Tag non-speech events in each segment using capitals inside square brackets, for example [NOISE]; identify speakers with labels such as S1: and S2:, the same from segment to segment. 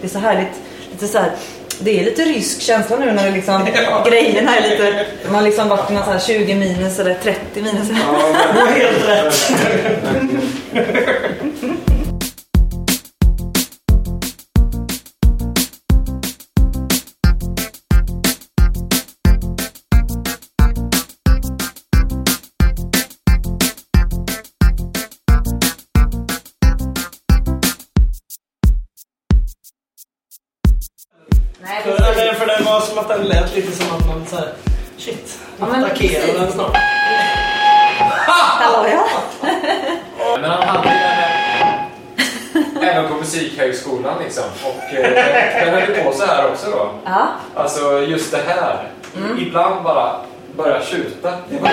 S1: Det är så härligt. Lite så här, det är lite rysk känsla nu när det
S2: [LAUGHS]
S1: liksom, grejerna är lite... Man har liksom varit i någon så här 20 minus eller 30 minus.
S2: men-
S1: Det var helt rätt. Nej,
S2: För, eller, för den var som att den lät lite som att man såhär, shit,
S1: Ja, men
S2: attackerar
S1: precis.
S2: den snart.
S1: Hallå ja.
S3: Men han hade ju även- [LAUGHS] även på Musikhögskolan liksom. Och eh, den höll ju på så här också då.
S1: ja.
S3: Alltså just det här. Ibland bara börja tjuta. Det var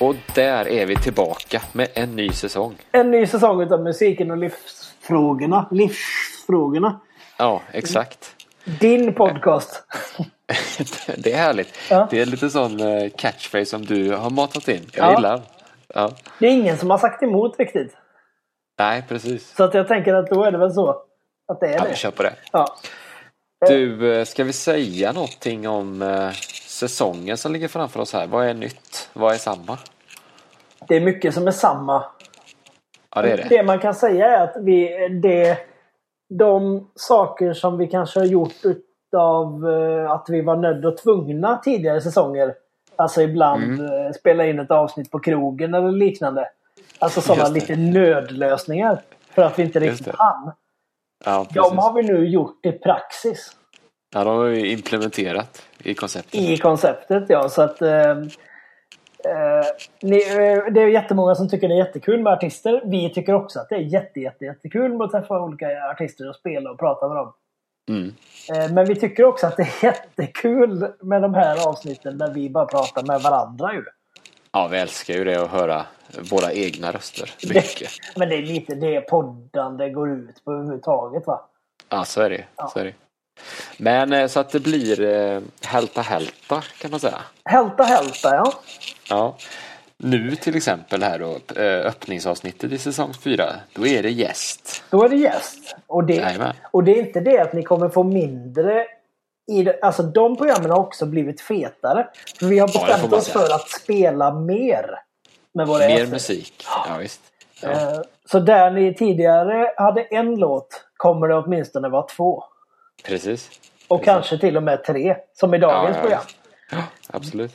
S4: Och där är vi tillbaka med en ny säsong.
S5: En ny säsong utav musiken och livsfrågorna. Livsfrågorna.
S4: Ja, exakt.
S5: Din podcast.
S4: [LAUGHS] Det är härligt.
S5: Ja.
S4: Det är lite sån eh, catchphrase som du har matat in. Jag
S5: Ja.
S4: gillar den. ja.
S5: Det är ingen som har sagt emot riktigt.
S4: Nej, precis.
S5: Så att jag tänker att då är det väl så. Att det är
S4: Ja,
S5: det.
S4: vi kör på det.
S5: Ja.
S4: Du, eh, ska vi säga någonting om eh, säsongen som ligger framför oss här? Vad är nytt? Vad är samma?
S5: Det är mycket som är samma.
S4: Ja, det är det.
S5: Det man kan säga är att vi, det, de saker som vi kanske har gjort utav eh, att vi var nödda och tvungna tidigare säsonger. Alltså ibland
S4: Mm.
S5: eh, spela in ett avsnitt på krogen eller liknande. Alltså sådana
S4: Just det.
S5: lite nödlösningar. För att vi inte
S4: Just
S5: riktigt
S4: det.
S5: hann.
S4: Ja, precis.
S5: De har vi nu gjort i praxis.
S4: Ja, de har vi implementerat i konceptet.
S5: I konceptet ja. Så att, eh, eh, ni, eh, det är jättemånga som tycker det är jättekul med artister. Vi tycker också att det är jätte, jätte, jättekul att träffa olika artister och spela och prata med dem.
S4: Mm.
S5: Eh, men vi tycker också att det är jättekul med de här avsnitten där vi bara pratar med varandra ju.
S4: Ja, vi älskar ju det att höra våra egna röster. Mycket.
S5: [LAUGHS] Men det är lite det poddande går ut på överhuvudtaget va.
S4: Ja, så är det ju. Så är det. ju. Men eh, så att det blir eh, hälta hälta kan man säga.
S5: Hälta hälta ja.
S4: Ja. Nu till exempel här då, eh, öppningsavsnittet i säsong 4. Då är det gäst.
S5: Då är det gäst. Och det,
S4: Jajamän.
S5: och det är inte det att ni kommer få mindre i det, Alltså de programmen har också blivit fetare. För vi har
S4: det får
S5: bestämt
S4: man
S5: oss
S4: säga.
S5: för att spela mer. Med våra
S4: Mer
S5: gäster.
S4: musik. Ja, visst. Ja.
S5: Eh, Så där ni tidigare hade en låt kommer det åtminstone vara två.
S4: Precis.
S5: Och kanske till och med tre. Som i
S4: Ja,
S5: dagens
S4: ja,
S5: program.
S4: Absolut.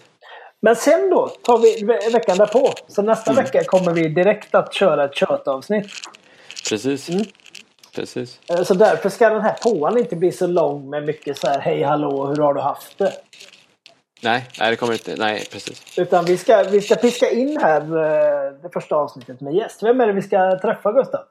S5: Men sen då tar vi ve- veckan därpå. Så nästa
S4: Mm.
S5: vecka kommer vi direkt att köra ett kötavsnitt.
S4: Precis.
S5: Mm.
S4: Precis.
S5: Eh, Så därför ska den här påan inte bli så lång med mycket så här hej hallå hur har du haft det?
S4: Nej, nej, det kommer inte. Nej, precis.
S5: Utan vi ska, vi ska piska in här eh, det första avsnittet med gäst. Vem är det vi ska träffa Gustav?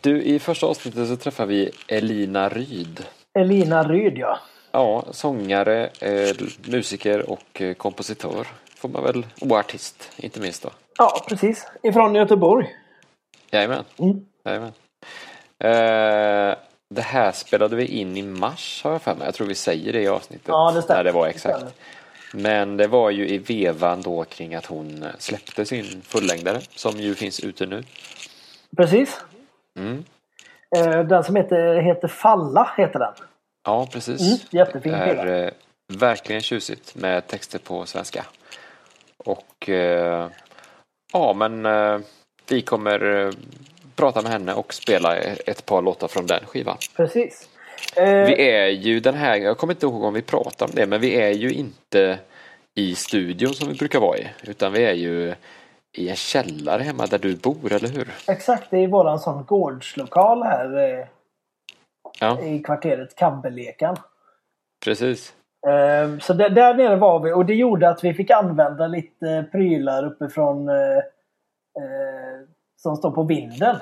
S4: Du, i första avsnittet så träffar vi Elina Ryd.
S5: Elina Ryd ja.
S4: Ja, sångare, eh, musiker och eh, kompositör. Får man väl, och artist, inte minst då.
S5: Ja precis. Ifrån Göteborg.
S4: Jajamän.
S5: Mm.
S4: Jajamän. Eh, det här spelade vi in i mars har jag för mig. Jag tror vi säger det i avsnittet.
S5: Ja, det stämmer.
S4: När det var
S5: Det
S4: exakt. Men det var ju i vevan då kring att hon släppte sin fullängdare som ju finns ute nu.
S5: Precis.
S4: Mm.
S5: Eh, Den som heter, heter Falla heter den.
S4: Ja, precis.
S5: Mm, jättefin
S4: är
S5: skiva.
S4: eh, verkligen tjusigt med texter på svenska. Och eh, ja, men eh, vi kommer eh, prata med henne och spela ett par låtar från den skivan.
S5: Precis. Eh,
S4: Vi är ju den här, jag kommer inte ihåg om vi pratar om det, men vi är ju inte i studion som vi brukar vara i, utan vi är ju i en källare hemma där du bor, eller hur?
S5: Exakt, det är våran sån gårdslokal här eh,
S4: Ja,
S5: i kvarteret Kabbelekan.
S4: precis.
S5: Eh, Så där, där nere var vi och det gjorde att vi fick använda lite prylar uppifrån eh, eh, som står på vinden.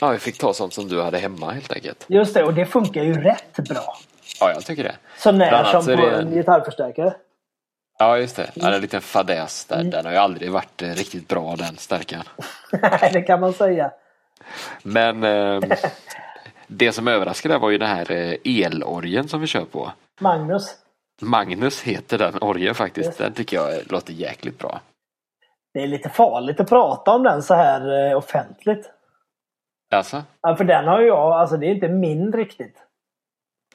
S4: Ja, vi fick ta sånt som du hade hemma helt enkelt.
S5: Just det, och det funkar ju rätt bra.
S4: Ja, jag tycker det.
S5: Så när
S4: Bland annat så
S5: som
S4: är
S5: på
S4: det-
S5: en gitarrförstärkare. [LAUGHS]
S4: Ja, just det. Ja, det är en liten fadäs där. Den har ju aldrig varit eh, riktigt bra, den stärkan.
S5: Nej, det kan man säga.
S4: Men ehm, Det som överraskade var ju den här eh, elorgen som vi kör på.
S5: Magnus.
S4: Magnus heter den orgen faktiskt.
S5: Yes.
S4: Den tycker jag låter jäkligt bra.
S5: Det är lite farligt att prata om den så här eh, offentligt.
S4: Alltså,
S5: Ja, för den har ju jag, alltså det är inte min riktigt.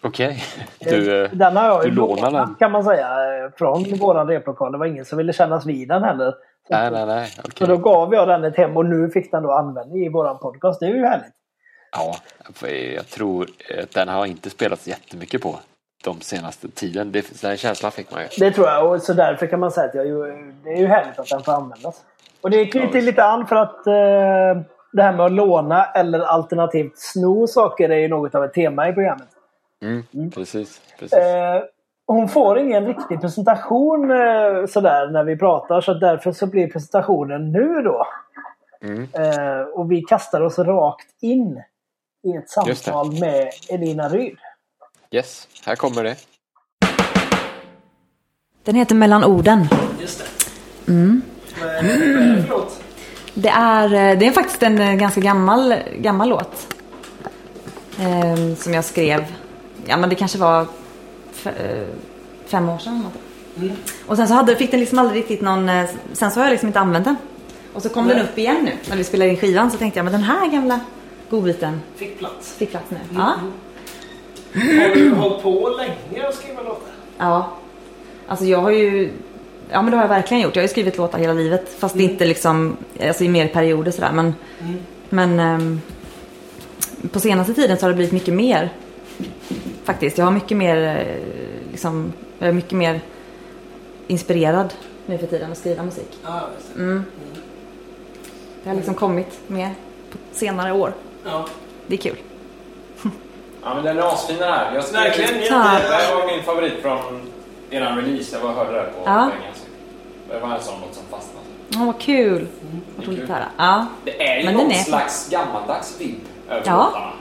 S4: okej. Du, [LAUGHS]
S5: Du,
S4: eh,
S5: den har jag ju
S4: du lånar
S5: lånat
S4: den.
S5: kan man säga eh, från våran replokal. Det var ingen som ville kännas vid den heller. Så,
S4: nej, nej, nej.
S5: så
S4: okej.
S5: då gav jag den ett hem och nu fick den då användning i våran podcast. Det är ju härligt.
S4: Ja, för jag tror att den har inte spelats jättemycket på de senaste tiden. Det, den känslan fick man ju.
S5: Det tror jag och så därför kan man säga att jag, ju- det är ju härligt att den får användas. Och det knyter lite an för att eh, det här med att låna eller alternativt sno saker är ju något av ett tema i programmet.
S4: Mm, Precis, precis.
S5: Eh, hon får ingen riktig presentation eh, sådär när vi pratar så därför så blir presentationen nu då.
S4: Mm.
S5: Eh, och vi kastar oss rakt in i
S4: Just
S5: ett
S4: det.
S5: samtal med Elina Ryd.
S4: Yes, här kommer det.
S1: Den heter Mellan orden.
S2: Just det. Mm. Men, eh, förlåt.
S1: Det är, eh, det är faktiskt en eh, ganska gammal, gammal låt. Ehm, som jag skrev. Ja men det kanske var f- eh, fem år sedan. eller något. Och sen så hade, fick den liksom aldrig riktigt någon... eh, Sen så har jag liksom inte använt den. Och så kom den upp igen nu när vi spelade in skivan. Så tänkte jag men den här gamla godbiten
S2: Fick plats.
S1: fick plats nu. Ja.
S2: Har du hållit på länge att skriva låtar?
S1: ja. Alltså jag har ju... Ja men det har jag verkligen gjort. Jag har ju skrivit låtar hela livet. Fast det är inte liksom... Alltså i mer perioder sådär. Men... Men ehm, på senaste tiden så har det blivit mycket mer. Faktiskt. Jag har mycket mer, eh, liksom, jag är mycket mer inspirerad nu för tiden att skriva musik. Mm.
S2: Ja, visst.
S1: Det har liksom kommit med på senare år.
S2: Ja.
S1: Det är kul.
S3: Ja, men den är asfin den här. Jag
S2: Verkligen.
S3: Det
S1: Ja.
S3: här var min favorit från eran release. Jag var hörde det på
S1: Ja.
S3: länge. sedan. Det var en sån låt som fastnade.
S1: Åh, vad kul. Vad
S3: det är
S1: roligt
S3: kul.
S1: att höra. Ja.
S3: Det är ju
S1: Men
S3: någon
S1: den är-
S3: slags gammaldags vibb över
S1: Ja.
S3: låtarna.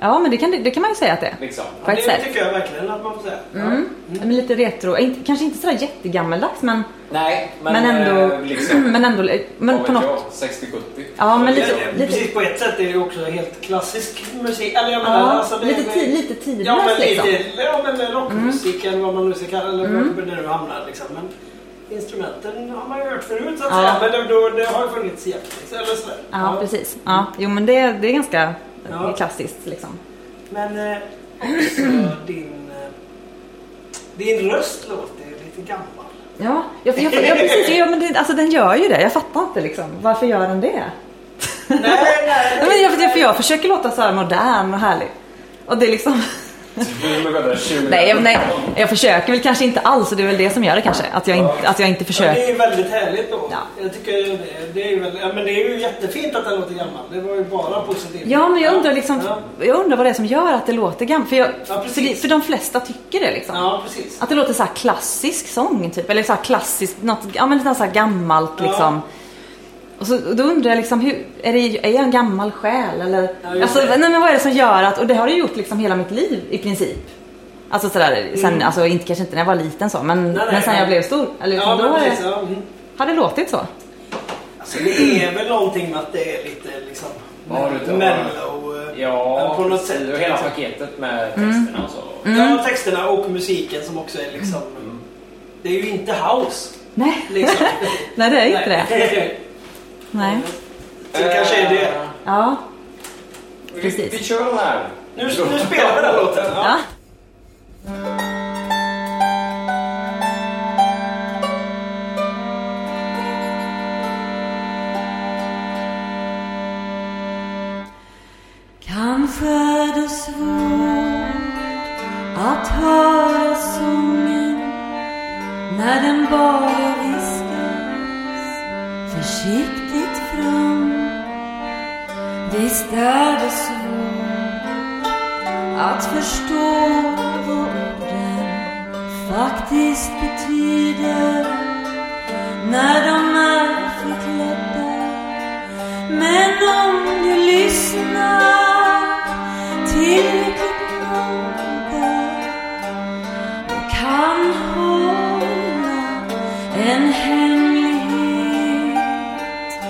S1: ja, men det kan, det kan man ju säga att det är.
S3: Liksom.
S2: Ja,
S1: På ett
S2: det
S1: sätt.
S2: tycker jag verkligen att man får säga.
S1: Mm. Men lite retro. Inte- Kanske inte sådär jättegammaldags, men,
S3: Nej, men,
S1: men, ändå...
S3: eh, liksom,
S1: [CLEARS THROAT] Men ändå... Men
S3: vad
S1: på
S3: vet
S1: något...
S3: jag, 60-70.
S1: Ja, men
S2: Ja,
S1: lite-
S2: det-
S1: lite-
S2: Precis, på ett sätt är det ju också helt klassisk musik. Eller jag menar,
S1: Ja,
S2: alltså, det,
S1: lite,
S2: det-
S1: ti- lite
S2: Ja,
S1: tidlöst
S2: men
S1: liksom.
S2: lite ja, men rockmusik eller vad man nu ska kalla eller mm. när du hamnar liksom. Men instrumenten har man ju hört förut så att
S1: Ja.
S2: säga. Men det, då, det har ju funnits jämt. liksom, Eller sådär.
S1: Ja, precis. Ja, jo, men det, det är ganska
S2: Ja.
S1: klassiskt liksom.
S2: Men eh, också din, eh, din röst låter ju lite gammal.
S1: Ja, jag, jag, jag, precis. Ja, men det, alltså, den gör ju det. Jag fattar inte liksom. Varför gör den det?
S2: [LAUGHS] nej, nej.
S1: Ja, men [LAUGHS] jag, för jag, för jag försöker låta så här modern och härlig. Och det är liksom...
S3: Nu är det 20
S1: Nej, jag- nej, jag försöker väl kanske inte alls och det är väl det som gör det kanske. Att jag, inte att jag inte
S2: Ja, det
S1: försöker.
S2: är ju väldigt härligt då.
S1: Ja.
S2: Jag tycker ju det, det är ju väl, ja, men det är ju jättefint att den låter gammal. Det var ju bara positivt.
S1: Ja, men jag undrar, liksom,
S2: Ja,
S1: jag undrar vad det är som gör att det låter gammalt. För, jag,
S2: Ja, precis.
S1: för, det, för de flesta tycker det liksom.
S2: ja precis.
S1: Att det låter så här klassisk sång typ. Eller så här klassisk, något, ja men lite så här gammalt
S2: Ja.
S1: liksom. Och, så, och då undrar jag liksom, hur, är, det, är jag en gammal själ eller?
S2: Ja, just
S1: alltså,
S2: det.
S1: nej, men vad är det som gör att, och det har det gjort liksom hela mitt liv i princip. Alltså sådär, sen, alltså inte, kanske inte när jag var liten så, men,
S2: Mm. Nej, nej,
S1: men sen
S2: nej.
S1: jag blev stor. Eller, liksom,
S2: Ja,
S1: då
S2: men
S1: har,
S2: precis.
S1: det,
S2: Ja. mm.
S1: har det låtit så.
S2: Alltså, det är väl någonting med att det är lite liksom
S3: Vad har du då?
S2: mellow. eh,
S3: Ja,
S2: men på något sätt.
S3: precis. och hela
S2: liksom.
S3: paketet med texterna och så.
S1: Mm.
S2: Ja, texterna och musiken som också är liksom...
S3: Mm.
S2: Det är ju inte house.
S1: Nej,
S2: Liksom.
S1: nej [LAUGHS] det är inte det.
S2: det.
S1: Nej.
S2: Så kanske är det...
S3: Eh,
S1: Ja.
S3: vi-
S1: Precis.
S3: Vi kör den här.
S2: Nu, nu spelar vi den här låten. Ja.
S1: ja. Kanske är det svårt att höra sången när den bara viskas försiktigt fram. Visst är det svårt att förstå vad orden faktiskt betyder när de är förklädda. Men om du lyssnar tillräckligt noga och kan hålla en hemlighet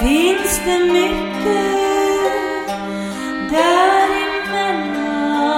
S1: finns det mycket däremellan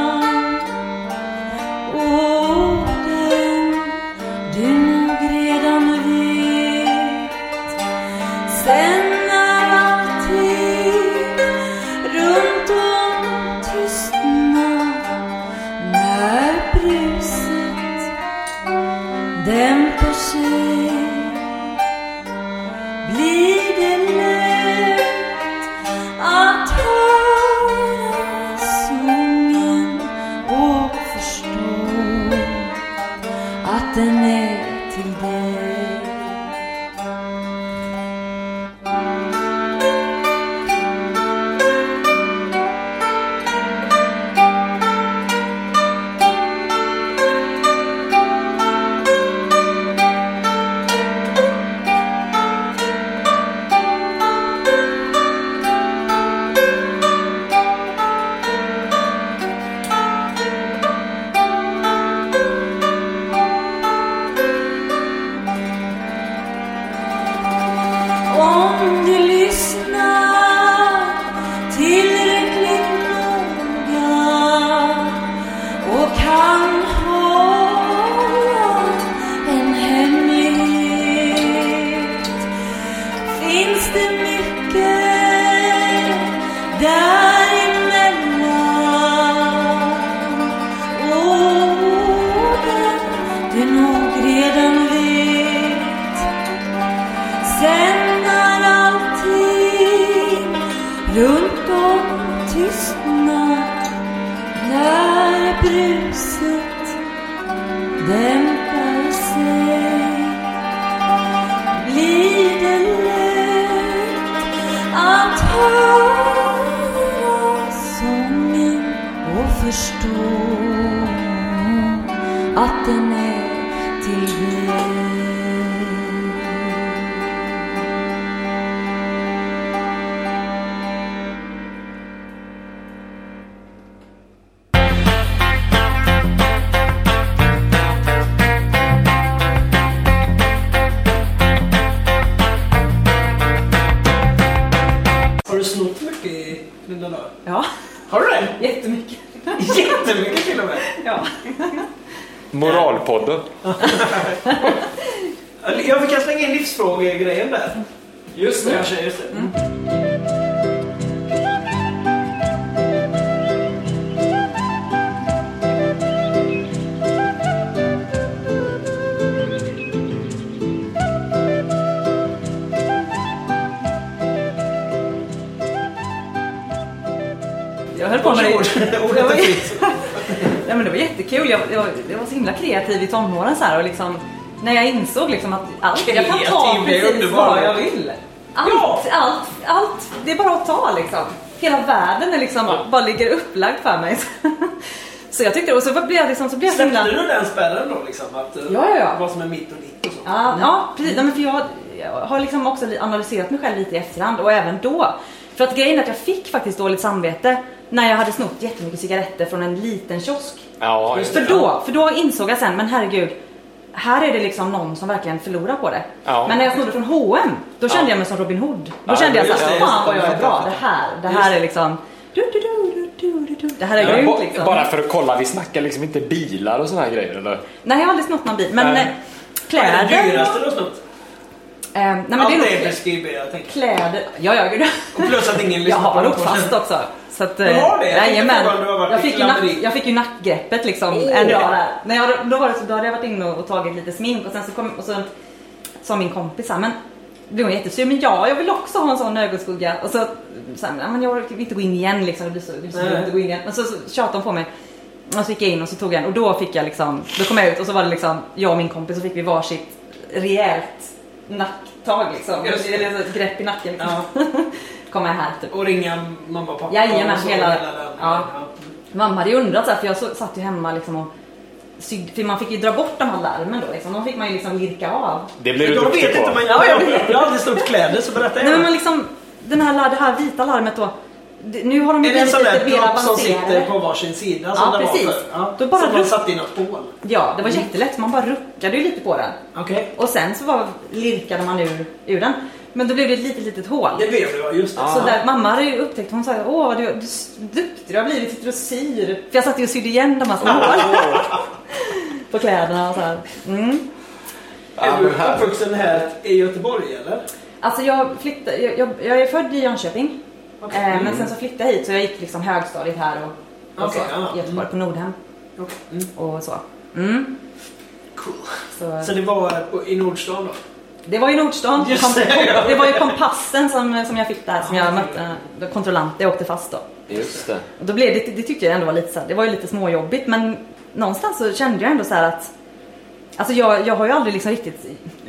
S6: bruset dämpar sig blir det lätt att höra sången och förstå att den är till dig.
S2: Har du snott mycket i dina dagar?
S1: Ja,
S2: Har du det?
S1: jättemycket.
S2: [LAUGHS] Jättemycket till och med.
S1: Ja.
S4: Moralpodden.
S2: Jag fick slänga in livsfrågegrejen där.
S3: Just det.
S2: Kanske, just det. Mm.
S1: Jag höll på med [LAUGHS] det.
S2: Varsågod. Ordet är fritt.
S1: Nej, men det var jättekul. Jag, jag, jag var så himla kreativ i tonåren så här och liksom när jag insåg liksom att allt, jag kan ta
S2: Kreativ, det är
S1: precis
S2: underbart.
S1: vad jag vill. Allt,
S2: Ja.
S1: allt, allt, det är bara att ta liksom. Hela världen är liksom, bara ligger upplagd för mig. [LAUGHS] så jag tyckte, och så blev jag liksom, så blev jag så himla...
S2: Släppte du den spärren då liksom? Att, eh,
S1: Ja, ja, ja.
S2: Vad som är mitt och ditt och så.
S1: Ja, ja precis. Nej, men för jag, jag har liksom också li- analyserat mig själv lite i efterhand och även då. För att grejen är att jag fick faktiskt dåligt samvete när jag hade snott jättemycket cigaretter från en liten kiosk.
S4: Ja, just
S1: För då, för då insåg jag sen, men herregud. Här är det liksom någon som verkligen förlorar på det.
S4: Ja.
S1: Men när jag snodde från H&M då kände jag mig som Robin Hood. Då kände jag
S2: just
S1: såhär,
S2: det,
S1: fan
S2: just
S1: vad
S2: det.
S1: jag är bra. Det här, det här är liksom... Du, du, du, du, du, du, du. Det här är grymt
S4: ba-
S1: liksom.
S4: Bara för att kolla, vi snackar liksom inte bilar och såna här grejer eller?
S1: Nej, jag har aldrig snott någon bil. Men
S4: Nej.
S1: eh,
S2: Vad är
S1: kläder...
S2: det dyraste du har snott?
S1: Eh, nej, men det
S2: Allt
S1: är nog...
S2: är preskriberat. tänker
S1: Kläder. Ja, ja, gud.
S2: jag. Och plus att ingen
S1: Jag
S2: lyssnar
S1: har
S2: den
S1: åkt fast också. Så att, eh,
S2: Du har det? Jag tänkte
S1: Jajamän.
S2: fråga om du har varit
S1: Jag
S2: i
S1: fick, ju nack,
S2: klammeri.
S1: jag fick ju nackgreppet liksom en dag där. När jag, då, var det så, då hade jag varit inne och, och tagit lite smink och sen så kom och så, sa min kompis så här, men blev hon jättesur, men ja, jag vill också ha en sån ögonskugga. Och så, så här, "Ja, men jag vill inte gå in igen liksom, det blir så, det blir så
S2: Nej.
S1: dumt att gå in igen. Men så, så tjatade hon på mig. Och så gick jag in och så tog jag en och då fick jag liksom, då kom jag ut och så var det liksom jag och min kompis så fick vi varsitt rejält nacktag liksom.
S2: Just det.
S1: Eller så ett grepp i nacken liksom. [LAUGHS]
S2: Ja.
S1: Kom jag här typ.
S2: Och ringa mamma och pappa.
S1: Jajamän,
S2: och så
S1: hela-
S2: den.
S1: ja. Mamma hade ju undrat så här, för jag så, satt ju hemma liksom och sydde, för man fick ju dra bort de här larmen då liksom. De fick man ju liksom lirka av.
S4: Det blir du
S2: Jag vet
S4: duktig
S2: inte,
S4: på.
S2: men jag, jag, jag har aldrig snott kläder så berätta
S1: Nej men
S2: gärna.
S1: man liksom, den här, la- det här vita larmet då. det- Nu har de ju
S2: Är det en
S1: blivit
S2: sån
S1: lite mer
S2: där dropp som
S1: avancerade.
S2: sitter på varsin sida som
S1: Ja,
S2: det var
S1: precis.
S2: förr? Ja,
S1: Då bara
S2: som man
S1: dropp.
S2: satte i något hål?
S1: Ja, det var jättelätt. Man bara ruckade ju lite på den.
S2: Okej.
S1: Och sen så var, lirkade man ur, ur den. Men då blev det ett litet, litet hål.
S2: Det blev det ja, just det.
S1: Så där, mamma hade ju upptäckt, hon sa åh vad du, du s- duktig du har blivit, sitter och syr. För jag satt ju och sydde igen de här små hålen. [LAUGHS] På kläderna och så här. Mm.
S4: Ja,
S2: Är
S4: men
S2: du
S4: här-
S2: uppvuxen här i Göteborg eller?
S1: Alltså jag flyttade, jag, jag, jag är född i Jönköping.
S2: Okej. Mm.
S1: Eh, men sen så flyttade jag hit så jag gick liksom högstadiet här och, och
S2: Okej,
S1: så,
S2: ja.
S1: i Göteborg på Nordhem
S2: Okej. Mm.
S1: och så. Mm.
S2: Cool.
S1: Så,
S2: Så det var på- i Nordstan då?
S1: det var ju Nordstan.
S2: Just
S1: Kom,
S2: det, Ah, ja.
S1: kom, det var ju kompassen som, som jag fick där som jag mötte eh, kontrollant. Jag åkte fast då.
S4: Just det.
S1: Och då blev det, det tyckte jag ändå var lite så här, det var ju lite småjobbigt men någonstans så kände jag ändå så här att Alltså jag, jag har ju aldrig liksom riktigt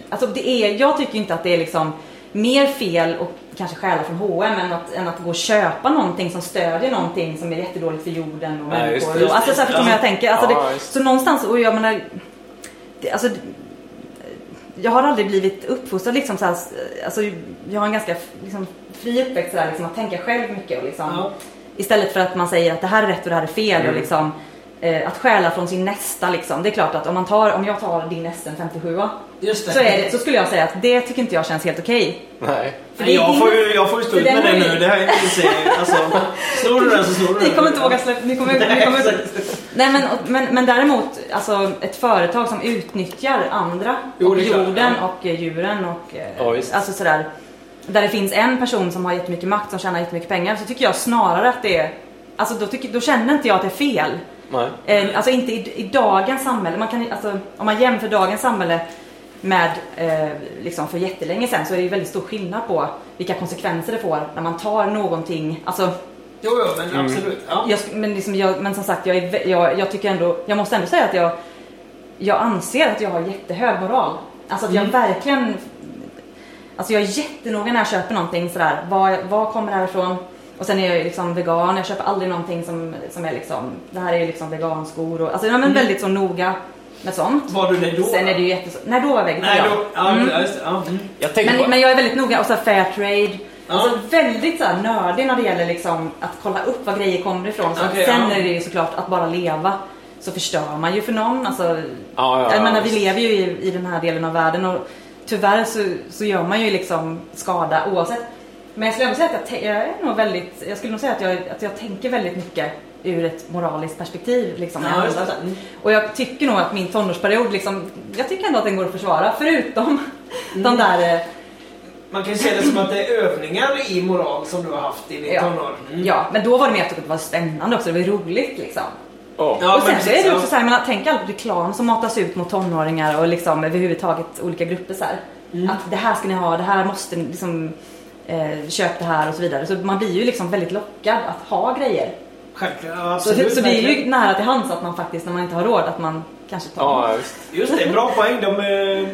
S1: Alltså det är, jag tycker ju inte att det är liksom mer fel och kanske stjäla från H&M än att, än att gå och köpa någonting som stödjer någonting som är jättedåligt för jorden och
S4: Nej,
S1: människor.
S4: just det, just
S1: och, alltså så här, förstår ni vad jag tänker? Alltså
S4: Ja,
S1: det,
S4: just
S1: så någonstans, och jag menar det, Alltså jag har aldrig blivit uppfostrad liksom så här, alltså, jag har en ganska liksom, fri uppväxt sådär, liksom, att tänka själv mycket och liksom,
S2: Ja.
S1: istället för att man säger att det här är rätt och det här är fel och liksom, eh, att stjäla från sin nästa liksom. Det är klart att om, man tar, om jag tar din SN 57
S2: Just det.
S1: så, är det, så skulle jag säga att det tycker inte jag känns helt okej.
S4: Nej.
S1: För det
S2: Nej,
S1: är
S2: jag,
S1: din-
S2: får ju, jag får ju stå
S1: för
S2: ut med
S1: den
S2: det
S1: har
S2: nu.
S1: ju-
S2: Det här är inte alltså,
S1: [LAUGHS]
S2: Snor du den så snor du den.
S1: Ni kommer inte våga släppa, ni kommer, ni
S2: Nej, [LAUGHS]
S1: kommer inte.
S2: exakt.
S1: Nej men, och- men, men däremot, alltså ett företag som utnyttjar andra
S2: Jo,
S1: och
S2: det är klart,
S1: jorden
S2: ja.
S1: och eh, djuren och eh,
S4: Ja, visst.
S1: alltså sådär. Där det finns en person som har jättemycket makt som tjänar jättemycket pengar så tycker jag snarare att det är, alltså då, tycker, då känner inte jag att det är fel.
S4: Nej.
S1: Eh, alltså inte i, i dagens samhälle. Man kan, ju- alltså, om man jämför dagens samhälle med eh, liksom för jättelänge sedan så är det ju väldigt stor skillnad på vilka konsekvenser det får när man tar någonting. Alltså,
S2: Jo, jo, men absolut. Ja.
S1: Jag, sk- men, liksom, jag, men som sagt, jag, är, vä- jag, jag tycker ändå, jag måste ändå säga att jag, jag anser att jag har jättehög moral. Alltså att jag verkligen, alltså jag är jättenoga när jag köper någonting sådär, vad, vad kommer det här ifrån? Och sen är jag ju liksom vegan, jag köper aldrig någonting som, som är liksom, det här är ju liksom veganskor och, alltså jag är väldigt så noga med sånt.
S2: Var du det då?
S1: Sen är det ju jättes... Nej, då var jag
S2: Nej,
S1: vegetarian.
S2: då, ja, ja, just det. Ja. Mm.
S7: Jag tänkte
S1: Men,
S7: bara,
S1: men jag är väldigt noga och så här fair trade.
S2: Ja.
S1: Alltså väldigt så här nördig när det gäller liksom att kolla upp var grejer kommer ifrån. Så att
S2: Okej,
S1: sen
S2: ja.
S1: är det ju såklart att bara leva så förstör man ju för någon. Alltså,
S7: ja, ja,
S1: jag menar, vi
S7: visst.
S1: lever ju i, i den här delen av världen och tyvärr så, så gör man ju liksom skada oavsett. Men jag skulle ändå säga att jag, te- jag är nog väldigt, jag skulle nog säga att jag, att jag tänker väldigt mycket ur ett moraliskt perspektiv. Liksom, när jag
S2: Ja, just
S1: handlar
S2: det.
S1: så här.
S2: Mm.
S1: Och jag tycker nog att min tonårsperiod, liksom, jag tycker ändå att den går att försvara. Förutom
S2: Mm.
S1: de där, eh,
S2: Man kan ju se det som att det är övningar i moral som du har haft i din
S1: Ja.
S2: tonår. Mm.
S1: ja, men då var det mer att jag tyckte det var spännande också, det var ju roligt liksom.
S2: Ja,
S1: och sen
S2: men
S1: så är det
S2: precis,
S1: också så här, men tänk all reklam som matas ut mot tonåringar och liksom överhuvudtaget olika grupper så här.
S2: Mm.
S1: Att det här ska ni ha, det här måste ni liksom, eh, köp det här och så vidare. Så man blir ju liksom väldigt lockad att ha grejer.
S2: ja. Självklart, ja,
S1: Så,
S2: absolut.
S1: så det är ju
S2: verkligen.
S1: nära till hands att man faktiskt, när man inte har råd, att man kanske tar
S7: Ja, visst.
S2: Just det, bra poäng. De, eh,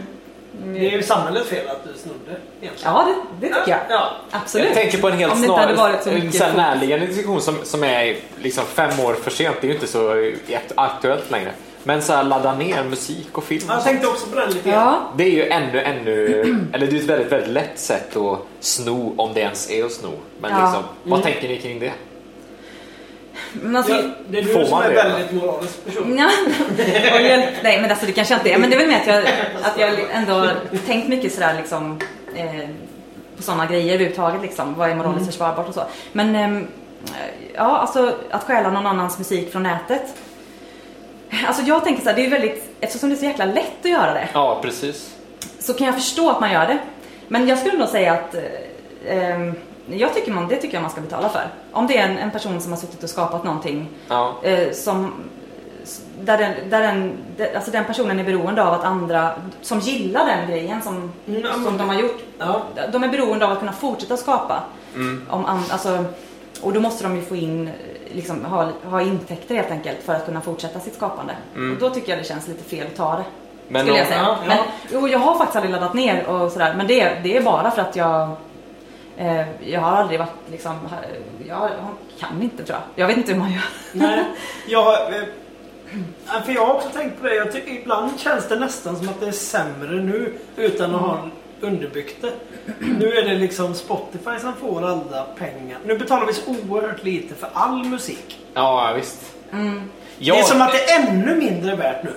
S2: det är ju samhällets fel att du snodde. egentligen.
S1: Mm. Ja, det, det tycker jag.
S2: Ja.
S1: Absolut.
S7: Jag tänker på en helt
S1: Om det inte hade varit så mycket
S7: så här
S1: fokus.
S7: närliggande diskussion som, som är liksom fem år för sent. Det är ju inte så akt- aktuellt längre. Men så här ladda ner musik och film. och
S2: Jag
S7: sånt.
S2: tänkte också på den lite grann.
S1: Ja,
S7: Det är ju ännu, ännu, [CLEARS THROAT] eller det är ett väldigt, väldigt lätt sätt att sno om det ens är att sno. Men
S1: Ja. Mm.
S7: liksom, vad tänker ni kring det?
S1: men alltså,
S2: Ja, det är
S7: Får
S2: du som
S7: man
S2: är
S7: det?
S2: väldigt moralisk person.
S1: Nja, och jag, nej men alltså det kanske jag inte är. Men det är väl mer att jag, att jag ändå har tänkt mycket sådär liksom eh, på sådana grejer överhuvudtaget liksom. Vad är moraliskt försvarbart och så. Men ehm, ja, alltså att stjäla någon annans musik från nätet. Alltså jag tänker så här, det är ju väldigt, eftersom det är så jäkla lätt att göra det
S7: Ja, precis.
S1: så kan jag förstå att man gör det. Men jag skulle nog säga att eh, ehm, jag tycker man, det tycker jag man ska betala för. Om det är en, en person som har suttit och skapat någonting
S7: Ja.
S1: eh, som, s- där, den, där den, de- alltså den personen är beroende av att andra som gillar den grejen som,
S2: Mm, ja,
S1: som
S2: men-
S1: de har gjort,
S2: Ja.
S1: de är beroende av att kunna fortsätta skapa.
S2: Mm.
S1: Om an, alltså, och då måste de ju få in, eh, liksom, ha, ha intäkter helt enkelt för att kunna fortsätta sitt skapande. Och då tycker jag det känns lite fel att ta det.
S7: Men
S1: skulle jag
S7: om-
S1: säga.
S2: Mm. ja, ja.
S1: Men, jo, jag har faktiskt aldrig laddat ner och sådär. Men det, är- det är bara för att jag eh, jag har aldrig varit liksom, ha- jag, jag kan inte tror jag. Jag vet inte hur man gör. [LAUGHS]
S2: Nej, jag, har, eh, ja, för jag har också tänkt på det. Jag tycker ibland känns det nästan som att det är sämre nu utan att
S1: Mm.
S2: ha underbyggt det. Nu är det liksom Spotify som får alla pengar. Nu betalar vi så oerhört lite för all musik.
S7: Ja, visst.
S1: Mm.
S7: Jag,
S2: Det är som att det är ännu mindre värt nu.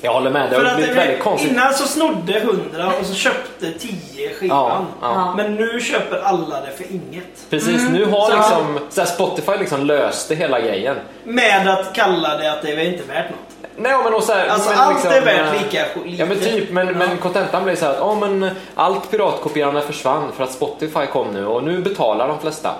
S7: jag håller med,
S2: För
S7: det har
S2: att Mm.
S7: blivit väldigt konstigt.
S2: innan så snodde 100 och så köpte 10
S7: Ja,
S2: skivan.
S7: ja.
S2: Men nu köper alla det för inget.
S7: Precis, nu har
S2: Så-
S1: Mm.
S7: liksom, så här Spotify liksom löste hela grejen.
S2: Med att kalla det att det är inte värt något.
S7: Nej, men och så här,
S2: Alltså
S7: men
S2: allt är värt
S7: eh,
S2: lika sk-
S7: Ja men
S2: lite.
S7: typ, men, men kontentan blev så här att oh, men allt piratkopierande försvann för att Spotify kom nu och nu betalar de flesta.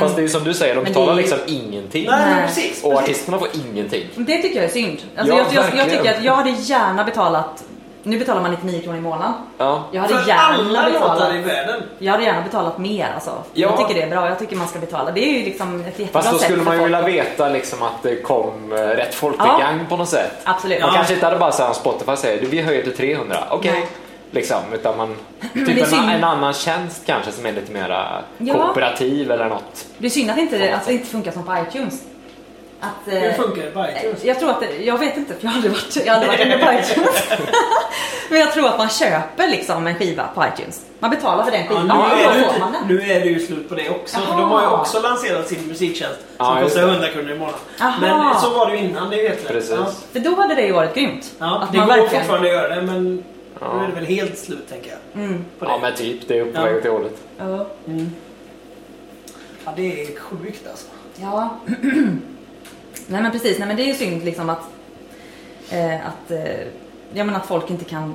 S7: Fast det är ju som du säger, de
S1: Mm. Men
S7: betalar
S1: det är ju-
S7: liksom ingenting.
S2: Nej, men
S1: Nej.
S2: precis.
S7: Och
S2: precis.
S7: artisterna får ingenting.
S1: Det tycker jag är synd. Alltså,
S7: Ja,
S1: jag, jag, jag
S7: verkligen.
S1: tycker att jag hade gärna betalat, nu betalar man 99 kronor i månaden.
S7: Ja.
S1: Jag hade
S2: För
S1: gärna
S2: alla låtar i
S1: betalat,
S2: världen.
S1: jag hade gärna betalat mer alltså.
S7: Ja.
S1: Jag tycker det är bra, jag tycker man ska betala. Det är ju liksom ett jättebra
S7: Fast då
S1: sätt
S7: skulle
S1: för
S7: man ju
S1: folk.
S7: vilja veta liksom att det kom eh, rätt folk till
S1: Ja.
S7: gang på något sätt.
S1: Absolut.
S7: Man
S1: Ja.
S7: kanske inte hade bara såhär Spotify säger du vi höjer till 300, okej.
S1: Nej.
S7: Liksom, utan man,
S1: det är
S7: typ en,
S1: synd.
S7: en annan tjänst kanske som är lite mera
S1: Ja.
S7: kooperativ eller något.
S1: Det är synd att, inte, att det inte funkar som på iTunes. Att, eh,
S2: Hur funkar det på iTunes?
S1: Jag tror att det, jag vet inte för jag har aldrig varit, jag har aldrig varit inne på
S2: [LAUGHS]
S1: iTunes. Men jag tror att man köper liksom en skiva på iTunes. Man betalar för den
S2: Ja,
S1: skivan
S2: nu,
S1: och
S2: är
S1: då
S2: det,
S1: får man
S2: ju-
S1: den.
S2: nu är det ju slut på det också. För
S1: Jaha.
S2: de har ju också lanserat sin musiktjänst som
S7: Ja, just
S2: kostar
S7: det.
S2: 100 kronor i månaden.
S1: Jaha.
S2: Men så var det ju innan, det är ju helt rätt.
S7: Precis.
S2: Ja.
S1: För då hade det ju varit grymt.
S2: Ja,
S1: att
S2: det
S1: man
S2: går
S1: verkligen...
S2: fortfarande att göra det men nu
S7: Ja.
S2: är det väl helt slut tänker jag.
S1: Mm.
S2: På det.
S7: Ja men typ, det är på
S2: Ja.
S7: väg åt det hållet.
S1: Ja.
S2: Mm. Ja, det är sjukt alltså.
S1: Ja. [CLEARS THROAT] nej men precis, nej men det är ju synd liksom att, eh, att, eh, ja, men att folk inte kan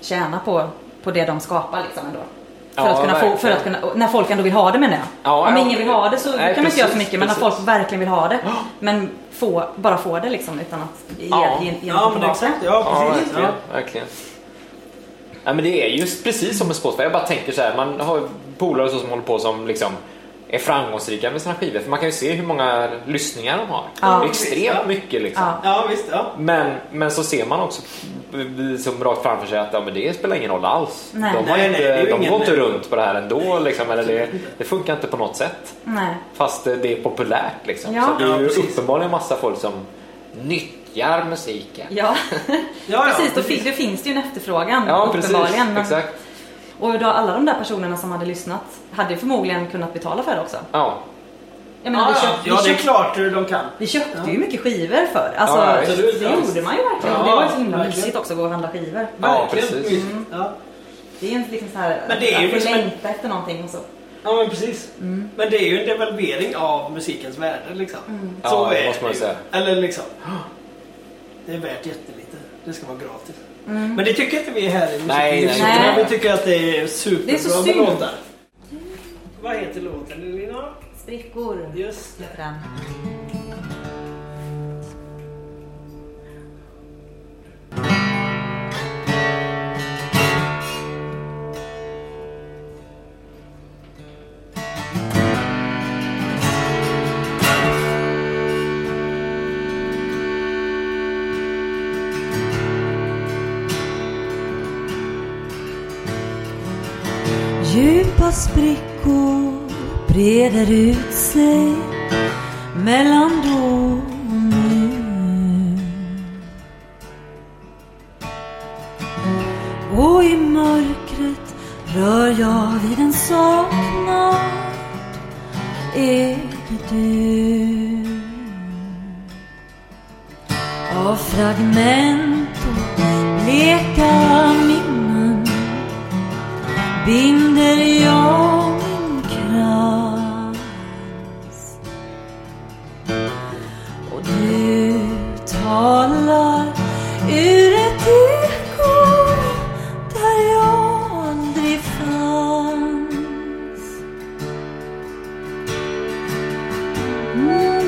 S1: tjäna på, på det de skapar liksom ändå. För,
S7: Ja,
S1: att kunna få, för
S7: verkligen.
S1: att kunna, och när folk ändå vill ha det menar jag.
S7: Ja,
S1: Om
S7: ja.
S1: ingen vill ha det så
S7: Nej,
S1: kan man inte
S7: precis,
S1: göra så mycket. Men när
S7: precis.
S1: folk verkligen vill ha det. Men få, bara få det liksom utan att ge,
S7: Ja.
S1: ge, ge
S2: Ja, men
S1: tillbaka.
S2: exakt. Ja,
S7: Ja,
S2: precis.
S7: verkligen.
S2: Ja.
S7: verkligen. Ja, men det är just precis som med Spotify. Jag bara tänker så här, man har polare och så som håller på som liksom är framgångsrika med sina skivor. För man kan ju se hur många lyssningar de har.
S1: Ja.
S7: Extremt mycket liksom.
S1: Ja.
S2: Ja, visst. Ja.
S7: Men, men så ser man också som rakt framför sig att ja, men det spelar ingen roll alls.
S1: Nej.
S7: De, har
S2: Nej, nej, det är
S7: inte,
S2: ju
S7: de går
S2: ingen-
S7: inte runt på det här ändå. Liksom, eller det, det funkar inte på något sätt.
S1: Nej.
S7: Fast eh, det är populärt. Liksom.
S1: Ja.
S7: Så det är
S2: Ja,
S7: ju
S2: precis.
S7: uppenbarligen massa folk som nyttjar musiken.
S1: Ja, [LAUGHS]
S2: Ja, ja,
S1: precis. Då, fin- då finns det ju en efterfrågan
S7: Ja, precis.
S1: uppenbarligen. men-
S7: Exakt.
S1: Och då, alla de där personerna som hade lyssnat hade ju förmodligen kunnat betala för det också.
S7: Ja.
S1: Jag menar,
S2: Ja,
S1: vi,
S2: Ah, ja,
S1: köpt,
S2: ja,
S1: vi,
S2: det är
S1: köpt,
S2: klart de kan.
S1: vi köpte ju mycket skivor förr. Alltså,
S7: Ja,
S2: absolut.
S1: det gjorde man ju verkligen.
S2: Ja,
S1: det var ju så himla
S2: verkligen.
S1: mysigt också att gå och handla skivor.
S7: Ja,
S2: Verkligen. Mm.
S7: precis.
S2: Ja.
S1: Det är ju inte liksom så här
S2: Men det är ju
S1: att vi
S2: liksom en-
S1: längtar efter någonting och så.
S2: Ja men precis.
S1: Mm.
S2: Men det är ju en devalvering av musikens värde liksom.
S7: Ja, det måste man ju
S2: ju.
S7: säga.
S2: Eller liksom. Det är värt jättelite. Det ska vara gratis. Men det tycker inte vi här i
S7: Nej,
S2: musiken.
S1: nej, nej.
S2: Vi tycker att det är superbra
S1: Mm. Det är så
S2: med
S1: synd.
S2: låtar. Vad heter låten Elina?
S1: Sprickor.
S2: Just det.
S1: heter den.
S6: Djupa sprickor breder ut sig mellan då och nu. Och i mörkret rör jag vid en saknad. Är det du? Av fragment och bleka minnen binder jag min krans och du talar ur ett eko där jag aldrig fanns. Mm.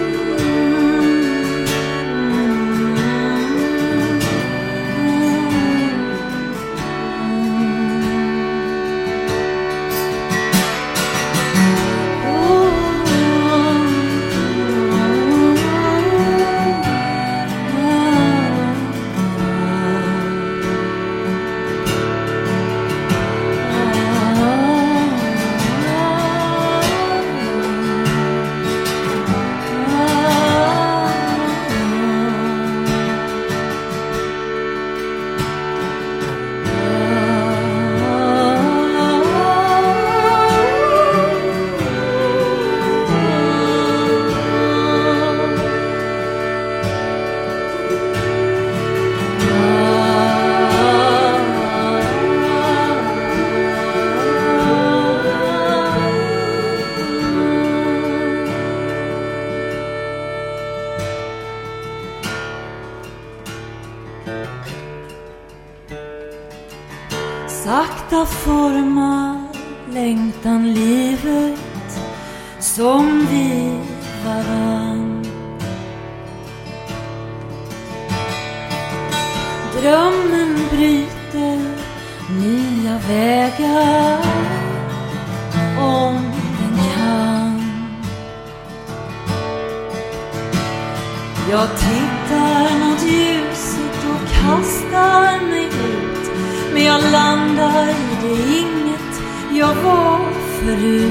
S6: Sakta formar längtan livet som vi varann. Drömmen bryter nya vägar om den kan. Jag tittar mot ljuset och kastar mig ut Men jag landar i det inget jag var förut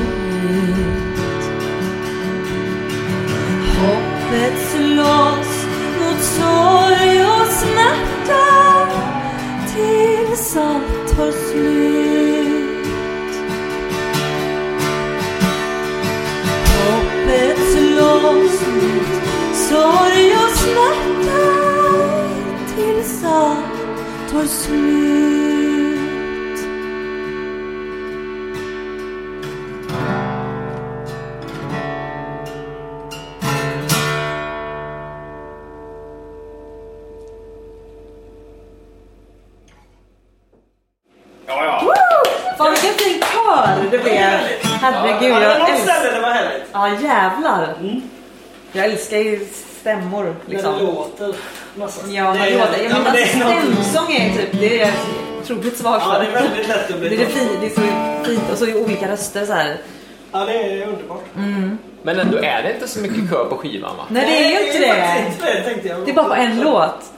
S6: Hoppet slåss mot sorg och smärta tills allt tar slut Hoppet slåss mot sorg och smärta tills allt tar slut.
S3: Ja, ja.
S1: Fan vilken fin kör det blev. Herregud,
S2: Ja, det var
S1: jag
S2: något
S1: älskar...
S2: ställe det Mm. var härligt.
S1: Ja jävlar. Jag älskar ju stämmor
S2: När det
S1: liksom.
S2: låter. Massa.
S1: Ja,
S2: Det
S1: men
S2: är-
S1: det låter... Jag
S2: ja, men
S1: menar
S2: det är något-
S1: stämsång är ju typ... Det är jag otroligt svag
S2: Ja,
S1: för.
S2: det är väldigt lätt att bli
S1: Det är, det, fin, det är så fint och så är olika röster så här.
S2: Ja, det är underbart.
S1: Mm.
S7: Men ändå är det inte så mycket kö på skivan va?
S1: Nej, det är ju inte
S2: faktiskt
S1: det.
S2: inte det, tänkte jag.
S1: Det är bara på en låt.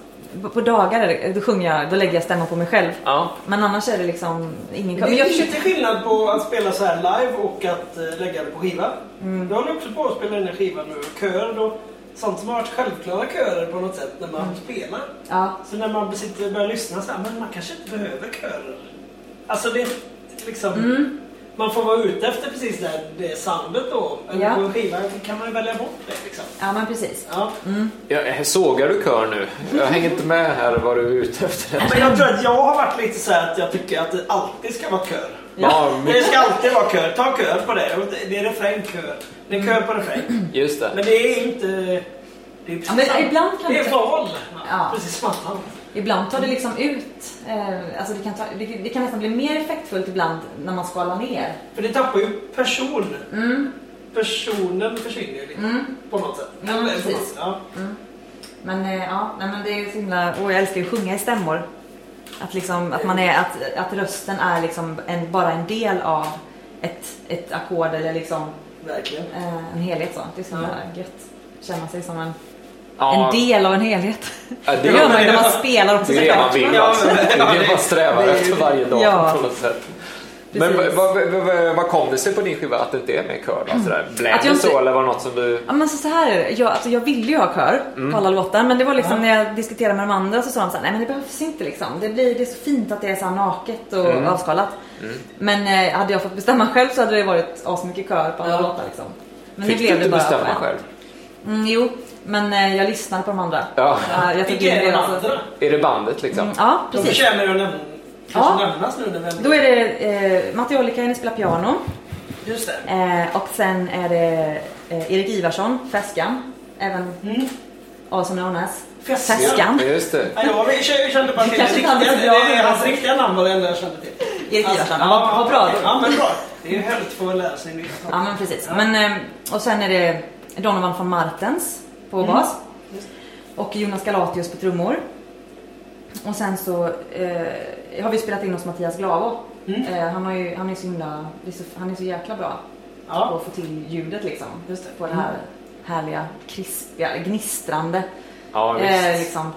S1: På- På dagar är det- då sjunger jag, då lägger jag stämman på mig själv.
S7: Ja.
S1: Men annars är det liksom ingen
S2: Det
S1: Men
S2: är
S1: jag
S2: lite
S1: försöker...
S2: skillnad på att spela så här live och att eh, lägga det på skiva. Mm. Jag håller också på att spela in en skiva nu. Körer och sånt som har varit självklara körer på något sätt när man spelar.
S1: Ja.
S2: Så när man sitter och börjar lyssna så här, men man kanske inte behöver körer. Alltså det är liksom... Man får vara ute efter precis det, här- det soundet då. Eller
S1: Ja.
S2: på en skiva kan man ju välja bort det liksom.
S1: ja, men precis.
S2: Ja.
S7: Jag, sågar du kör nu? Jag hänger inte med här vad du är ute efter.
S2: Men jag tror att jag har varit lite så här att jag tycker att det alltid ska vara kör.
S7: Ja,
S2: Det ska alltid vara kör. Ta kör på det. Och det- Det är refräng, kör. Det är kör på refräng.
S7: just det.
S2: Men det är inte... Det är,
S1: Ja, men
S2: precis-
S1: ibland kan
S2: det
S1: det-
S2: är val.
S1: Ja.
S2: Precis som annat.
S1: Ibland tar det liksom ut, eh, alltså det kan, ta, det, det kan nästan bli mer effektfullt ibland när man skalar ner. Mm,
S2: För det tappar ju person. Personen försvinner ju lite. På något sätt.
S1: Ja, men
S2: Eller på
S1: precis.
S2: något sätt, Ja.
S1: mm. Men eh, ja, nej, men det är så himla, och jag älskar ju att sjunga i stämmor. Att, liksom, att, man är, att, att rösten är liksom en, bara en del av ett, ett ackord eller liksom
S2: Verkligen.
S1: eh, en helhet. Så. Det är så himla gött. Känna sig som en,
S7: Ja,
S1: en del av en helhet.
S7: ja,
S1: Det gör man ju när man spelar också
S7: Det är det man
S1: såklart.
S7: vill.
S2: Ja,
S7: alltså.
S2: men-
S7: Det är det man strävar
S2: det är-
S7: efter varje dag
S1: Ja.
S7: på något sätt. Men
S1: Precis.
S7: vad, vad, vad, vad kom det sig på din skiva att det inte är med kör? då? Sådär, Blev
S1: Att jag
S7: det
S1: inte-
S7: så eller var det något som du...
S1: Ja, men så, så här är det. Jag, alltså, jag ville ju ha kör
S7: Mm.
S1: på alla låtar men det var liksom när jag diskuterade med de andra så sa de så här, nej men det behövs inte liksom. Det, blir, det är så fint att det är så här naket och
S7: Mm.
S1: avskalat. Men eh, hade jag fått bestämma själv så hade det varit asmycket kör på alla låtar liksom. Men
S7: Fick du inte bestämma
S1: på en.
S7: själv?
S1: Mm, jo, men eh, jag lyssnade på de andra.
S7: Ja.
S1: Ja, jag
S2: Vilka
S1: tycker
S2: är
S1: det
S2: de
S1: är alltså,
S2: andra?
S7: Är det bandet liksom?
S1: Mm, Ja,
S2: De
S1: precis.
S2: förtjänar ju att nämna,
S1: Ja.
S2: kanske nämnas nu när vi ändå-
S1: Då är det eh, Matti Ollikainen spelar piano
S2: Just det.
S1: eh, och sen är det eh, Erik Ivarsson, Fäskan. Även
S2: Mm.
S1: Ahlsson Ånäs.
S2: Fäskan.
S1: Fäskan.
S7: Ja, Just det.
S2: Ja, jag kände- kände bara till hans
S1: Kanske inte hade
S2: riktiga,
S1: så bra
S2: det är hans
S1: namn.
S2: riktiga namn var det enda jag kände till.
S1: Erik
S2: Alltså,
S1: Ivarsson. Ja, vad bra.
S2: Ja, men bra. Det är ju härligt att få lära sig nytt.
S1: Ja men precis. Men, eh, och sen är det Donovan van Martens på
S2: Mm.
S1: bas. Och Jonas Galatius på trummor. Och sen så eh, har vi spelat in hos Mattias Glavo.
S2: Mm.
S1: Eh, han, har ju, han, är så himla, det är så, han är så jäkla bra på
S2: Ja.
S1: att få till ljudet liksom.
S2: Just det. Mm.
S1: På det här härliga, krispiga, gnistrande.
S7: Ja,
S1: Eh,
S7: visst.
S1: liksom,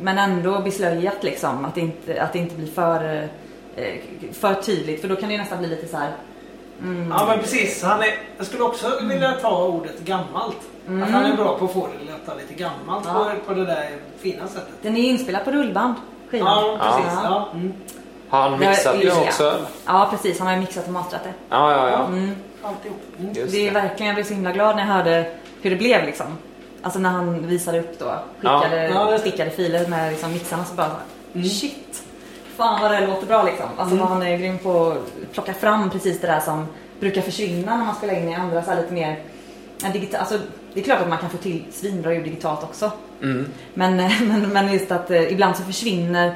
S1: men ändå beslöjat liksom. Att det inte, att det inte blir för, eh, för tydligt. För då kan det ju nästan bli lite så här. mm.
S2: ja, men precis. Han är, jag skulle också vilja ta ordet gammalt. Att han är bra på att få det att låta lite gammalt
S1: Ja.
S2: på, på det där fina sättet.
S1: Den är ju inspelad på rullband. Skivan.
S2: Ja, precis.
S1: Ja.
S2: Ja. Mm.
S7: Har han
S1: Det är
S7: mixat det
S1: Ilja.
S7: också? eller?
S1: Ja, precis. Han har ju mixat och masterat det.
S7: Ja, ja, ja.
S2: Alltihop. Mm.
S7: Just
S1: Det är
S7: det.
S1: verkligen, jag blev så himla glad när jag hörde hur det blev liksom. Alltså när han visade upp då, skickade,
S2: Ja. Ja, det- Mm.
S1: skickade filer med liksom mixarna så bara så här, shit. Fan vad det låter bra liksom. Alltså vad han är grym på att plocka fram precis det där som brukar försvinna när man spelar in i andra så här lite mer ja, digita- alltså, det är klart att man kan få till svinbra ljud digitalt också.
S7: Mm.
S1: Men, [LAUGHS] men, men just att eh, ibland så försvinner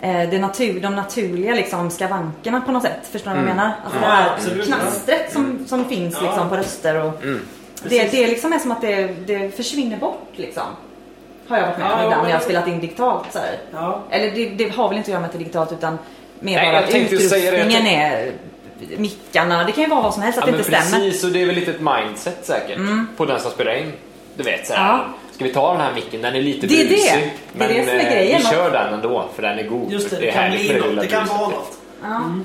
S1: eh, det natur, de naturliga liksom, skavankerna på något sätt. Förstår
S7: Mm.
S1: du vad jag menar? Alltså det
S2: Ja,
S1: här
S2: absolut.
S1: knastret som, som finns
S2: Ja.
S1: liksom, på röster. Och,
S7: Mm.
S1: det, det liksom är som att det, det försvinner bort liksom. Har jag varit med om
S2: Ja,
S1: ibland när jag har
S2: men-
S1: spelat in digitalt. Så här.
S2: Ja.
S1: Eller det, det har väl inte att göra med att det är digitalt utan mer
S7: Nej,
S1: bara
S7: jag
S1: att
S7: tänkte ju säga det. Jag
S1: utrustningen är mickarna. Det kan ju vara vad som helst att
S7: ja,
S1: det
S7: men
S1: inte stämmer. Mm.
S7: Precis, och det är väl lite ett mindset säkert på den som spelar in. Du vet så här,
S1: Ja.
S7: ska vi ta den här micken? Den är lite
S1: Det är det.
S7: busig.
S1: Det är det som är
S7: eh,
S1: grejen.
S7: Vi kör den ändå för den är god.
S2: Just det, det, kan
S7: härligt
S2: bli
S7: med
S2: något.
S7: lilla
S2: Det kan
S7: bruset.
S2: vara något.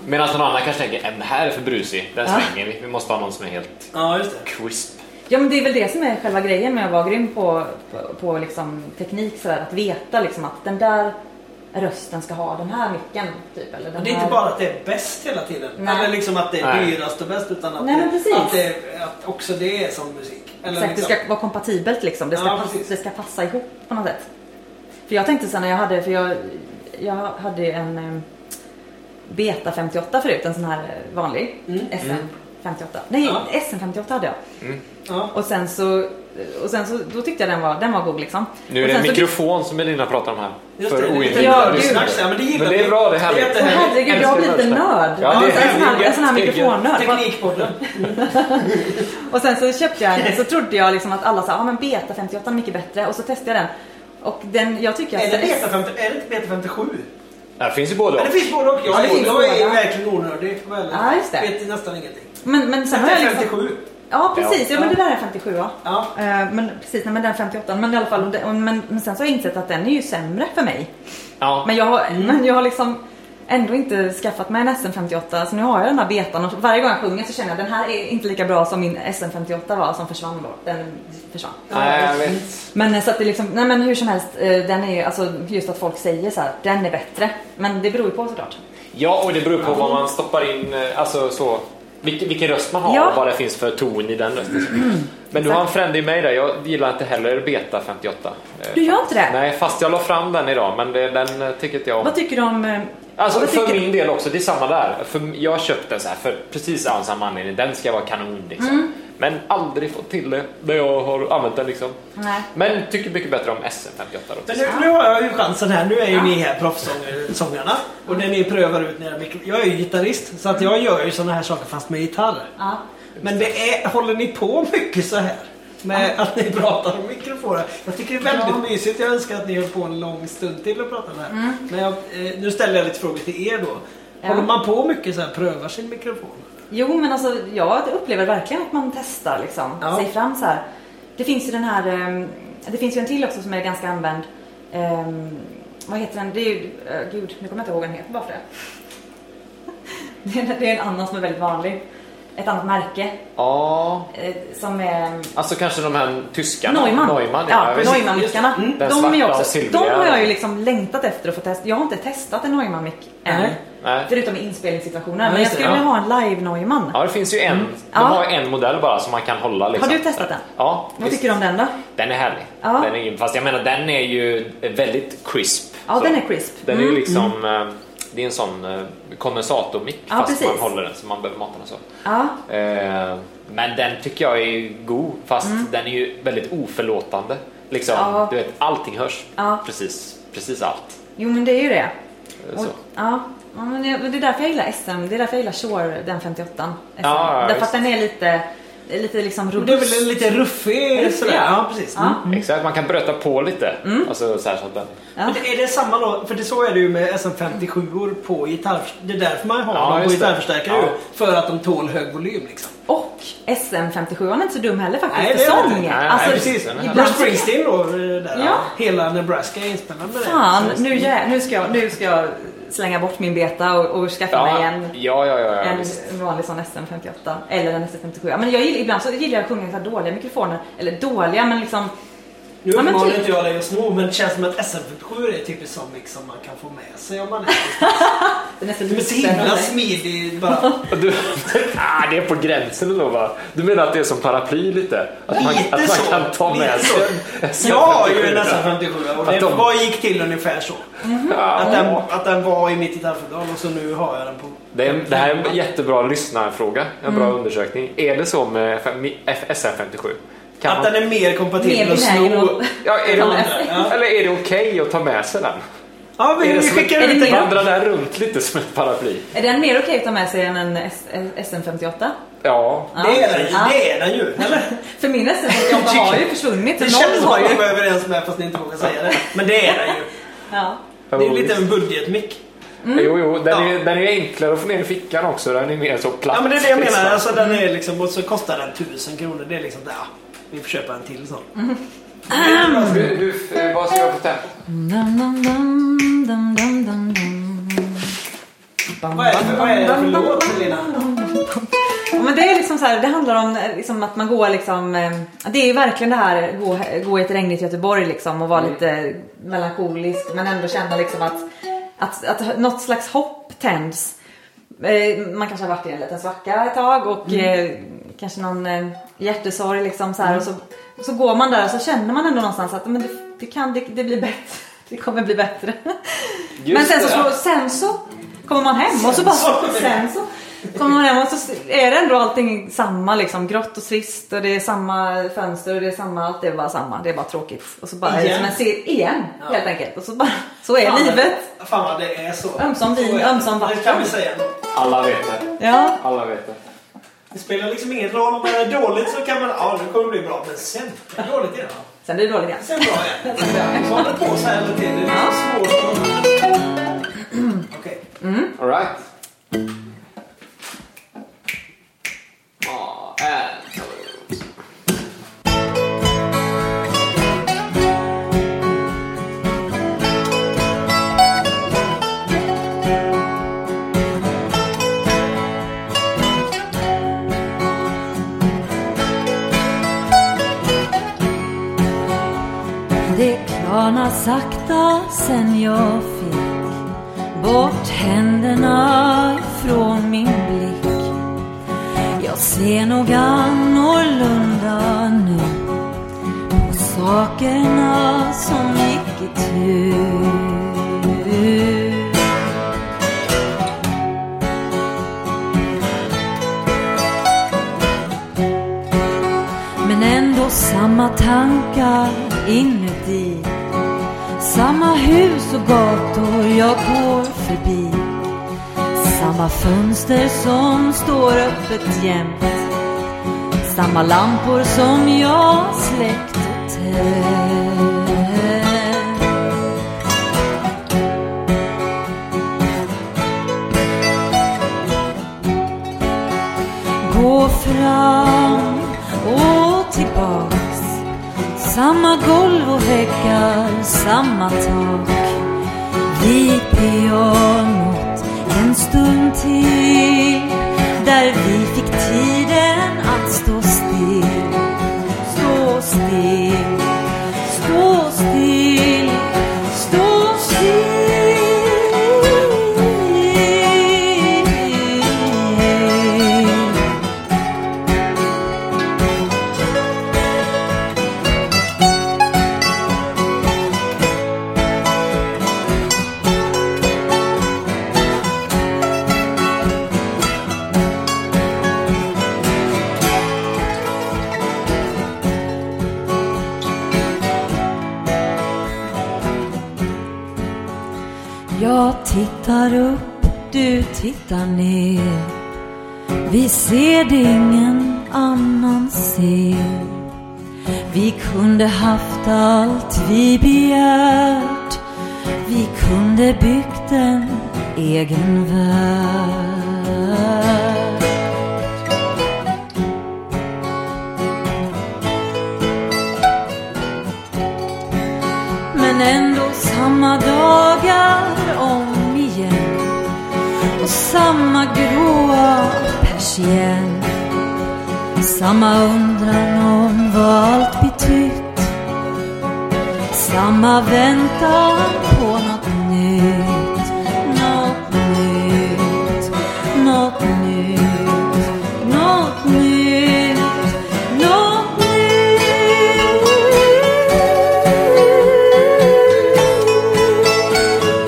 S7: Medan någon annan kanske tänker, "Äh, den här är för brusig. Den
S1: Ja.
S7: slänger vi. Vi måste ha någon som är helt
S2: Ja, just det.
S7: crisp.
S1: Ja men det är väl det som är själva grejen med att vara grym på, på, på liksom teknik sådär. Att veta liksom att den där rösten ska ha den här micken. Typ, eller den
S2: Det är inte
S1: här...
S2: bara att det är bäst hela tiden.
S1: Nej.
S2: Eller liksom att det är
S7: Nej.
S2: dyrast och bäst. Utan att,
S1: Nej, men
S2: det,
S1: precis.
S2: att, det, att också det är som musik. Eller
S1: Exakt, det
S2: liksom-
S1: ska vara kompatibelt liksom. Det ska,
S2: Ja,
S1: passa,
S2: precis.
S1: det ska passa ihop på något sätt. För jag tänkte sen när jag hade, för jag, jag hade en eh, Beta 58 förut, en sån här eh, vanlig SM 58. Nej,
S2: Mm. Ja. Mm.
S1: SM 58 hade jag.
S2: Ja.
S1: Och sen så, och sen så, då tyckte jag den var, den var god liksom.
S7: Nu är
S1: och
S7: det en
S1: sen så-
S7: mikrofon som Elina pratar om här.
S2: Just
S7: för
S2: det, det
S7: oinvigda
S1: Ja, gud.
S7: lyssnare.
S2: Ja, men det gillar
S7: Men det
S2: vi.
S7: är bra, det
S2: Det
S7: är
S2: är
S7: härligt.
S1: Åh,
S2: jättehärligt.
S1: herregud, jag har blivit en nörd.
S7: Ja, det är
S1: en, sån här,
S7: härligt.
S1: en sån här
S7: Det är gött.
S1: mikrofonnörd.
S2: Teknikpodden.
S1: Och sen så köpte jag
S7: [LAUGHS]
S1: den så trodde jag liksom att alla sa, ja ah, men Beta 58 är mycket bättre. Och så testade jag den. Och den, jag tycker att
S2: Är det beta 50, är det inte beta 57?
S7: Det finns ju både
S2: Men
S7: och.
S2: det finns både och.
S1: Ja,
S2: Jag
S1: det
S2: är,
S1: finns
S2: jag är
S1: båda.
S2: verkligen onördig. får jag väl-
S1: Ja, just det.
S2: Vet nästan ingenting.
S1: Men, men sen har jag liksom...
S5: 57.
S1: Ja, precis. Ja, men
S5: Ja.
S1: det där är 57 ja.
S5: Ja.
S1: Eh, Men precis, nej, men den 58 men i alla fall, och det- och- men, men sen så har jag insett att den är ju sämre för mig.
S7: Ja.
S1: Men jag, har-
S7: Mm.
S1: men jag har liksom ändå inte skaffat mig en SM58 så nu har jag den här betan och varje gång jag sjunger så känner jag att den här är inte lika bra som min SM58 var som försvann då. Den försvann.
S7: Nej, jag vet.
S1: Men eh, så att det liksom, nej men hur som helst, eh, den är ju, alltså just att folk säger så här, den är bättre. Men det beror ju på såklart.
S7: Ja, och det beror på vad man stoppar in, eh, alltså så. Vilken, vilken röst man har
S1: Ja.
S7: och vad det finns för ton i den rösten.
S1: [CLEARS THROAT]
S7: Men du har en frände i mig där, jag gillar inte heller Beta 58. eh,
S1: Du gör inte det?
S7: Nej, fast jag la fram den idag, men det, den eh, tycker inte jag om.
S1: Vad tycker du om... eh,
S7: Alltså
S1: vad
S7: för
S1: tycker du?
S7: min del också, det är samma där. För jag köpte den så här för precis av samma anledning, den ska vara kanon liksom.
S1: Mm.
S7: Men aldrig fått till det när jag har använt den liksom.
S1: Nej.
S7: Men tycker mycket bättre om SM58 då.
S1: Mm.
S5: Men nu, nu har jag ju chansen här. Nu är ju ni här proffsångarna. Och det ni prövar ut när jag Jag är ju gitarrist så att jag gör ju såna här saker fast med gitarr.
S1: Ja.
S5: Men det är, håller ni på mycket så här? Med att ni pratar om mikrofoner. Jag tycker det är väldigt mysigt. Jag önskar att ni höll på en lång stund till och pratade om det här. Men jag, eh, nu ställer jag lite frågor till er då.
S1: Mm. Ja.
S5: Håller man på mycket så här, prövar sin mikrofon?
S1: Jo, men alltså jag upplever verkligen att man testar liksom.
S5: Ja.
S1: Sig fram så här. Det finns ju den här, ehm, det finns ju en till också som är ganska använd. Ehm, vad heter den? Det är ju, eh, gud, nu kommer jag inte ihåg vad den heter bara för det. [LAUGHS] det. är- Det är en annan som är väldigt vanlig. Ett annat märke
S7: Ja,
S1: eh, som är
S7: alltså kanske de här tyskarna.
S1: Neumann.
S7: Neumann ja,
S1: ja,
S7: visst.
S1: Neumann-mickarna.
S7: Den
S1: De, är ju
S7: svarta och
S1: också, de
S7: silvriga.
S1: har jag ju liksom längtat efter att få testa. Jag har inte testat en Neumann-mick än.
S5: Nej.
S7: Nej.
S1: Förutom i inspelningssituationer.
S5: Ja,
S1: men jag
S5: just det,
S1: skulle
S7: ja.
S1: vilja ha en live-Neumann.
S7: Ja, det finns ju en. De
S1: Mm. Ja.
S7: har en modell bara som man kan hålla liksom.
S1: Har du testat den?
S7: Ja.
S1: Vad
S7: visst.
S1: tycker du om den då?
S7: Den är härlig.
S1: Ja.
S7: Den är, fast jag menar den är ju väldigt crisp.
S1: Ja,
S7: Så.
S1: den är Mm. crisp.
S7: Den är ju liksom, eh, det är en sån eh, kondensatormick
S1: Ja,
S7: fast
S1: precis.
S7: man håller den så man behöver mata den så.
S1: Ja.
S7: Eh, Men den tycker jag är god fast den är ju väldigt oförlåtande. Liksom,
S1: Mm. Ja.
S7: du vet, allting hörs.
S1: Ja.
S7: Precis, precis allt.
S1: Jo men det är ju det.
S7: Eh,
S1: Och,
S7: Så.
S1: ja. ja men det, det är därför jag gillar SM. Det är därför jag gillar Shore, den 58 SM.
S7: Ja, ja,
S1: Därför att
S7: visst.
S1: den är lite, lite liksom robust.
S5: Det är väl en lite ruffig
S1: Ruffig,
S5: sådär?
S1: ja.
S5: Ja, precis. Mm.
S1: Ja.
S7: Exakt, man kan bröta på lite.
S1: Mm.
S7: Alltså, så här, så att den,
S1: Ja.
S5: Men det- är det samma då? För det så är det ju med SM57 på gitarr. Det är därför man har
S7: Ja,
S5: dem på
S7: just det.
S5: gitarrförstärkare
S7: Ja.
S5: ju. För att de tål hög volym liksom.
S1: Och SM57 var inte så dum heller faktiskt.
S5: Nej,
S1: Nej,
S5: det
S1: för
S5: är det
S1: sång.
S5: inte.
S7: Nej,
S1: alltså,
S7: nej,
S5: Precis.
S7: den är
S1: ibland-
S5: Bruce Springsteen då. eh, Där,
S1: Ja.
S5: Hela Nebraska är inspelad med det.
S1: Fan, nu, jä- nu, ska jag, nu ska jag slänga bort min beta och, och skaffa
S7: ja,
S1: mig
S7: ja,
S1: en,
S7: ja, ja, ja,
S1: en
S7: visst.
S1: vanlig sån SM58. Eller en SM57. Ja, Men jag gillar, ibland så gillar jag att sjunga i så här dåliga mikrofoner. Eller dåliga men liksom
S5: Nu
S1: Ja, men
S5: uppmanar
S1: typ.
S5: inte jag dig att sno men det känns som att SM47 är typiskt sån mix som liksom man kan få med sig om [LAUGHS] man är
S1: den är så
S5: De är så himla smidig [LAUGHS] bara.
S7: Och Du, ah, det är på gränsen ändå va? Du menar att det är som paraply lite? Att man,
S5: Lite
S7: att man
S5: så,
S7: kan ta med
S5: lite
S7: sig
S5: så. Jag har ju en SM57 och
S7: Att
S5: det
S7: de-
S5: bara gick till ungefär så. Att
S7: Ja.
S5: den, att den var i mitt gitarrfodral och så nu har jag den på...
S7: Det, är, det här är en jättebra lyssnarfråga, en
S5: Mm.
S7: bra undersökning. Är det så med SM57? Kan
S5: Att
S7: man,
S5: den är mer kompatibel
S1: Mer
S5: att
S1: benägen
S5: sno.
S1: att-
S7: ja, är
S1: kan
S7: det,
S1: man-
S5: Ja.
S7: eller är det okej att ta med sig den?
S5: Ja, vi,
S7: Är det
S5: vi
S7: som-
S5: skickar
S1: är det
S5: ut
S1: mer-
S5: den.
S7: Vandra där runt lite som ett paraply?
S1: Är den mer okej att ta med sig än en S- SM58?
S7: Ja.
S1: Ja.
S5: Det är den ju.
S1: Ja.
S5: Det är den ju. Eller?
S1: För min SM58 har ju försvunnit.
S5: [LAUGHS] Det
S1: så
S5: känns
S1: Någon
S5: som
S1: har
S5: att ni var
S1: ju...
S5: överens med fast ni inte vågar säga det. Men det är den ju.
S1: Ja.
S5: Det är en liten budgetmick.
S7: Jo, jo, den, är,
S5: Ja.
S7: den är enklare att få ner i fickan också. Den är mer så platt.
S5: Ja men det är det jag menar.
S7: liksom.
S5: Alltså, den är liksom, och så kostar den 1000 kronor. Det är liksom, ja, vi får köpa en till sån.
S4: Du, du, eh, vad ska jag få tempo?
S1: Dum, dum, dum, dum, dum, dum, dum. Bam,
S5: Vad är det för- vad är det för
S1: bam, bam,
S5: låt,
S1: bam,
S5: Lina?
S1: bam, bam, bam. Ja, Men det är liksom så här, det handlar om eh, liksom att man går liksom, eh, det är ju verkligen det här gå, gå i ett regnigt Göteborg liksom och vara lite melankolisk men ändå känna liksom att, att, att något slags hopp tänds. Eh, Man kanske har varit i en liten svacka ett tag och eh, kanske någon eh, hjärtesorg liksom så här och så, och så går man där och så känner man ändå någonstans att men det, det kan, det, det blir bättre. [LAUGHS] Det kommer bli bättre. men sen så,
S7: det.
S1: slår- sen så kommer man hem och så bara sen så kommer man hem och så är det ändå allting samma liksom grått och svist och det är samma fönster och det är samma allt det är bara samma. Det är bara tråkigt och så bara är det
S5: Igen.
S1: som en serie igen
S5: Ja.
S1: helt enkelt och så bara så är
S5: Fan, vad-
S1: livet.
S5: Fan vad det är så.
S1: Ömsom vin,
S5: Så är det.
S1: ömsom vatten.
S5: Det kan vi säga.
S4: Alla vet det.
S1: Ja.
S4: Alla vet det.
S5: Det spelar liksom ingen roll om det är dåligt så kan man, ja nu kommer det bli bra. Men sen, dåligt igen. ja.
S1: Sen blir det dåligt igen.
S5: Sen bra igen. Så håller det på så här hela tiden. Det är så svårt. Okej.
S4: All right.
S6: det klarnar sakta sen jag fick bort händerna ifrån min blick. Jag ser nog annorlunda nu på sakerna som gick i tur. Men ändå samma tankar inuti. Samma hus och gator jag går förbi. Samma fönster som står öppet jämt. Samma lampor som jag släckt och tänt. Gå fram och tillbaks Samma golv och väggar, samma tak Vid pianot en stund till Där vi fick tiden att stå still Stå still, stå still, stå still Jag tittar upp, du tittar ner. Vi ser det ingen annan ser. Vi kunde haft allt vi begärt. Vi kunde byggt en egen värld. Men ändå samma dagar om igen Och samma gråa persien Samma undran om vad allt betytt Samma väntan på något nytt Något nytt Något nytt Något nytt Något nytt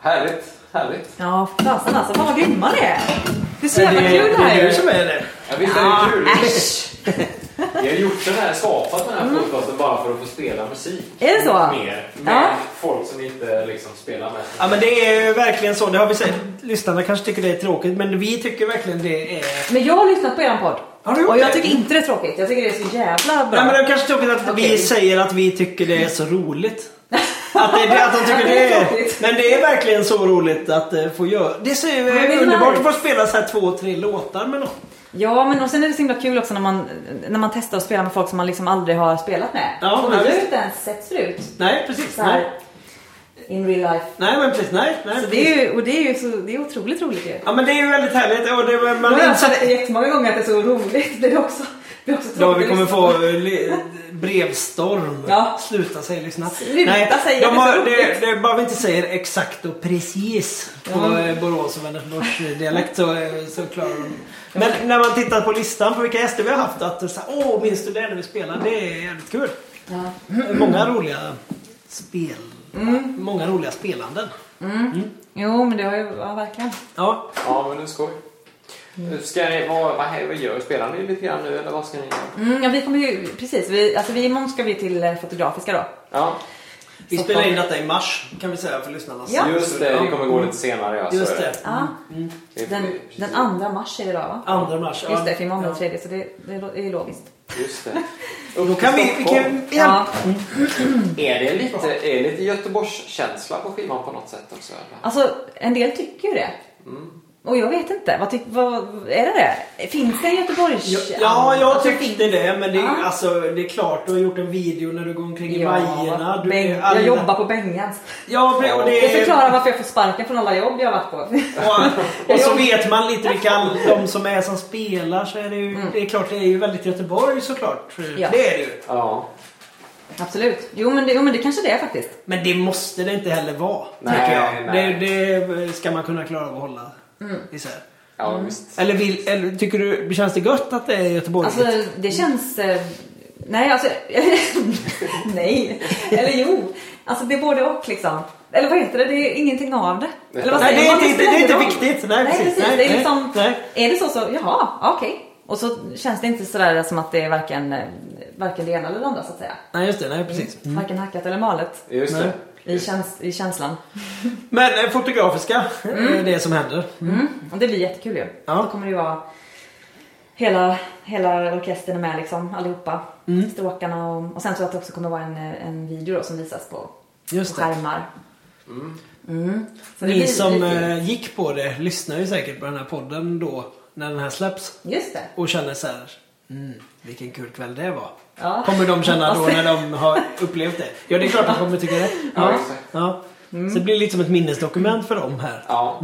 S7: Härligt, härligt.
S1: Ja, fasen alltså. Fan vad grymma det är. Det är så
S5: Det,
S1: jävla kul det här
S5: är du
S1: ju.
S5: som är det.
S7: Ja, visst är det kul?
S1: Äsch!
S7: Vi har gjort den här, skapat den
S5: Mm.
S7: här podcasten bara för att få spela musik.
S1: Är det så?
S7: Mer. Med
S1: Ja.
S7: folk som inte liksom spelar med.
S5: Ja men det är ju verkligen så. Det har vi sett. Lyssnarna kanske tycker det är tråkigt men vi tycker verkligen det är...
S1: Men jag har lyssnat på er podd.
S5: Har du gjort
S1: Och jag
S5: det?
S1: tycker inte det är tråkigt. Jag tycker det är så jävla bra.
S5: Nej men det är kanske tråkigt att vi
S1: Okej.
S5: säger att vi tycker det är så roligt. Att, det, är- att de
S1: [LAUGHS]
S5: tycker
S1: Det
S5: det
S1: är
S5: är...
S1: tråkigt.
S5: Men det är verkligen så roligt att eh, få göra. Det är så eh,
S1: det är
S5: underbart
S1: nice.
S5: att få spela så här två, tre låtar med någon.
S1: Ja, men och sen är det så himla kul också när man, när man testar att spela med folk som man liksom aldrig har spelat med.
S5: Ja,
S1: och vi har
S5: ja,
S1: ju
S5: visst.
S1: inte ens sett förut.
S5: Nej precis.
S1: Så här,
S5: Nej.
S1: in real life.
S5: nej men precis. Nej. nej
S1: Så det
S5: precis.
S1: är ju, och det är ju så, det är otroligt roligt ju.
S5: Ja men det är ju väldigt härligt. Och det, man
S1: Jag har
S5: inser-
S1: sagt det jättemånga gånger att det är så roligt. Det är också, det är också
S5: Ja,
S1: tråkigt
S5: vi
S1: att
S5: kommer
S1: lyssna
S5: få
S1: på.
S5: eh, li- brevstorm.
S1: Ja.
S5: Sluta säga lyssna.
S1: Sluta säga,
S5: de
S1: det är
S5: har,
S1: så
S5: det,
S1: roligt.
S5: det är bara vi inte säger exakt och precis på
S1: Ja.
S5: eh, Borås och Vänersborgs dialekt så, eh, så klarar de Men när man tittar på listan på vilka gäster vi har haft att så här, åh minns du det när vi spelade? Det är jävligt kul.
S1: Ja.
S5: Många roliga spel.
S1: Mm.
S5: Många roliga spelanden.
S1: Jo, men det har ju, ja verkligen.
S5: Ja.
S7: Ja, men det är skoj.
S1: Mm.
S7: Ska ni, vad, vad, här- vad gör Spelar ni lite grann nu eller vad ska ni göra?
S1: Mm, ja, vi kommer ju, precis, vi, alltså vi, imorgon ska vi till eh, Fotografiska då.
S7: Ja.
S5: Vi
S1: Så
S5: spelar
S1: fan.
S5: in detta i mars kan vi säga för lyssnarna.
S1: Ja.
S7: Just det, det kommer gå
S4: Mm.
S7: lite senare. Ja, så
S5: Just
S7: är
S5: det.
S1: Ja,
S7: det.
S1: den, den andra mars är det idag va?
S5: Andra mars.
S1: Just det, för imorgon är den tredje så det, det är ju logiskt.
S7: Just det.
S5: Och då kan vi... vi kan, ja.
S1: Ja,
S7: Är det lite, är det lite Göteborgskänsla på skivan på något sätt också? eller?
S1: alltså en del tycker ju det.
S5: Mm.
S1: Och jag vet inte, vad, tyck, vad är det det? Finns det en Göteborgs...
S5: Ja, ja, jag
S1: Alltså,
S5: tyckte det. Men det, är-
S1: Ja.
S5: alltså, det är klart, du har gjort en video när du går omkring i Bajerna.
S1: Ja,
S5: Du
S1: bäng,
S5: är alla-
S1: jag jobbar på Bengans.
S5: Ja, och det, och
S1: Det
S5: det
S1: förklarar varför jag får sparken från alla jobb jag har varit på. [LAUGHS]
S5: och, och så vet man lite vilka all- de som är som spelar. Så är det, ju, det är klart, det är ju väldigt Göteborg såklart.
S1: Mm. Ja.
S5: Det är det ju.
S7: Ja.
S1: Absolut. Jo men, det, jo men det kanske det är faktiskt.
S5: Men det måste det inte heller vara.
S7: Nej,
S5: tycker jag.
S7: nej.
S5: Det, det ska man kunna klara av att hålla
S1: Mm.
S5: isär.
S7: Ja, visst.
S5: Eller, vill, eller tycker du, känns det gött att det är Göteborg?
S1: Alltså det känns... Eh, nej alltså... [LAUGHS] nej. Eller jo. Alltså det är både och liksom. Eller vad heter det? Det är ingenting av det. Eller vad
S5: Nej,
S1: säger
S5: det är
S1: man?
S5: inte-
S1: spelar
S5: det är inte
S1: roll.
S5: viktigt. Nej, precis.
S1: precis.
S5: Nej,
S1: det är
S5: nej,
S1: liksom...
S5: nej.
S1: Är det så så, jaha, okej. Och så känns det inte sådär som att det är varken, eh, varken det ena eller det andra så att säga.
S5: Nej, just det. Nej, precis. Mm.
S1: Varken hackat eller malet.
S7: Just
S5: Nej.
S7: det.
S1: I, käns I känslan.
S5: Men eh, fotografiska, mm. det som händer.
S1: Och det blir jättekul ju.
S5: Ja.
S1: Då kommer det ju vara hela, hela orkestern är med liksom, allihopa.
S5: Mm.
S1: Stråkarna och, och sen tror jag att det också kommer vara en, eh, en video då som visas på, på
S5: Just det.
S1: skärmar. Mm. Så det
S5: Ni
S1: blir-
S5: som
S1: blir kul.
S5: eh, gick på det lyssnar ju säkert på den här podden då när den här släpps
S1: Just det.
S5: och känner så här. Mm, vilken kul kväll det var.
S1: Ja.
S5: Kommer de känna då
S1: Hoppas
S5: när de har upplevt det? Ja, det är klart de kommer tycka det.
S7: Ja,
S5: Ja.
S7: exakt.
S5: Ja. Så det blir lite som ett minnesdokument för dem här.
S7: Ja,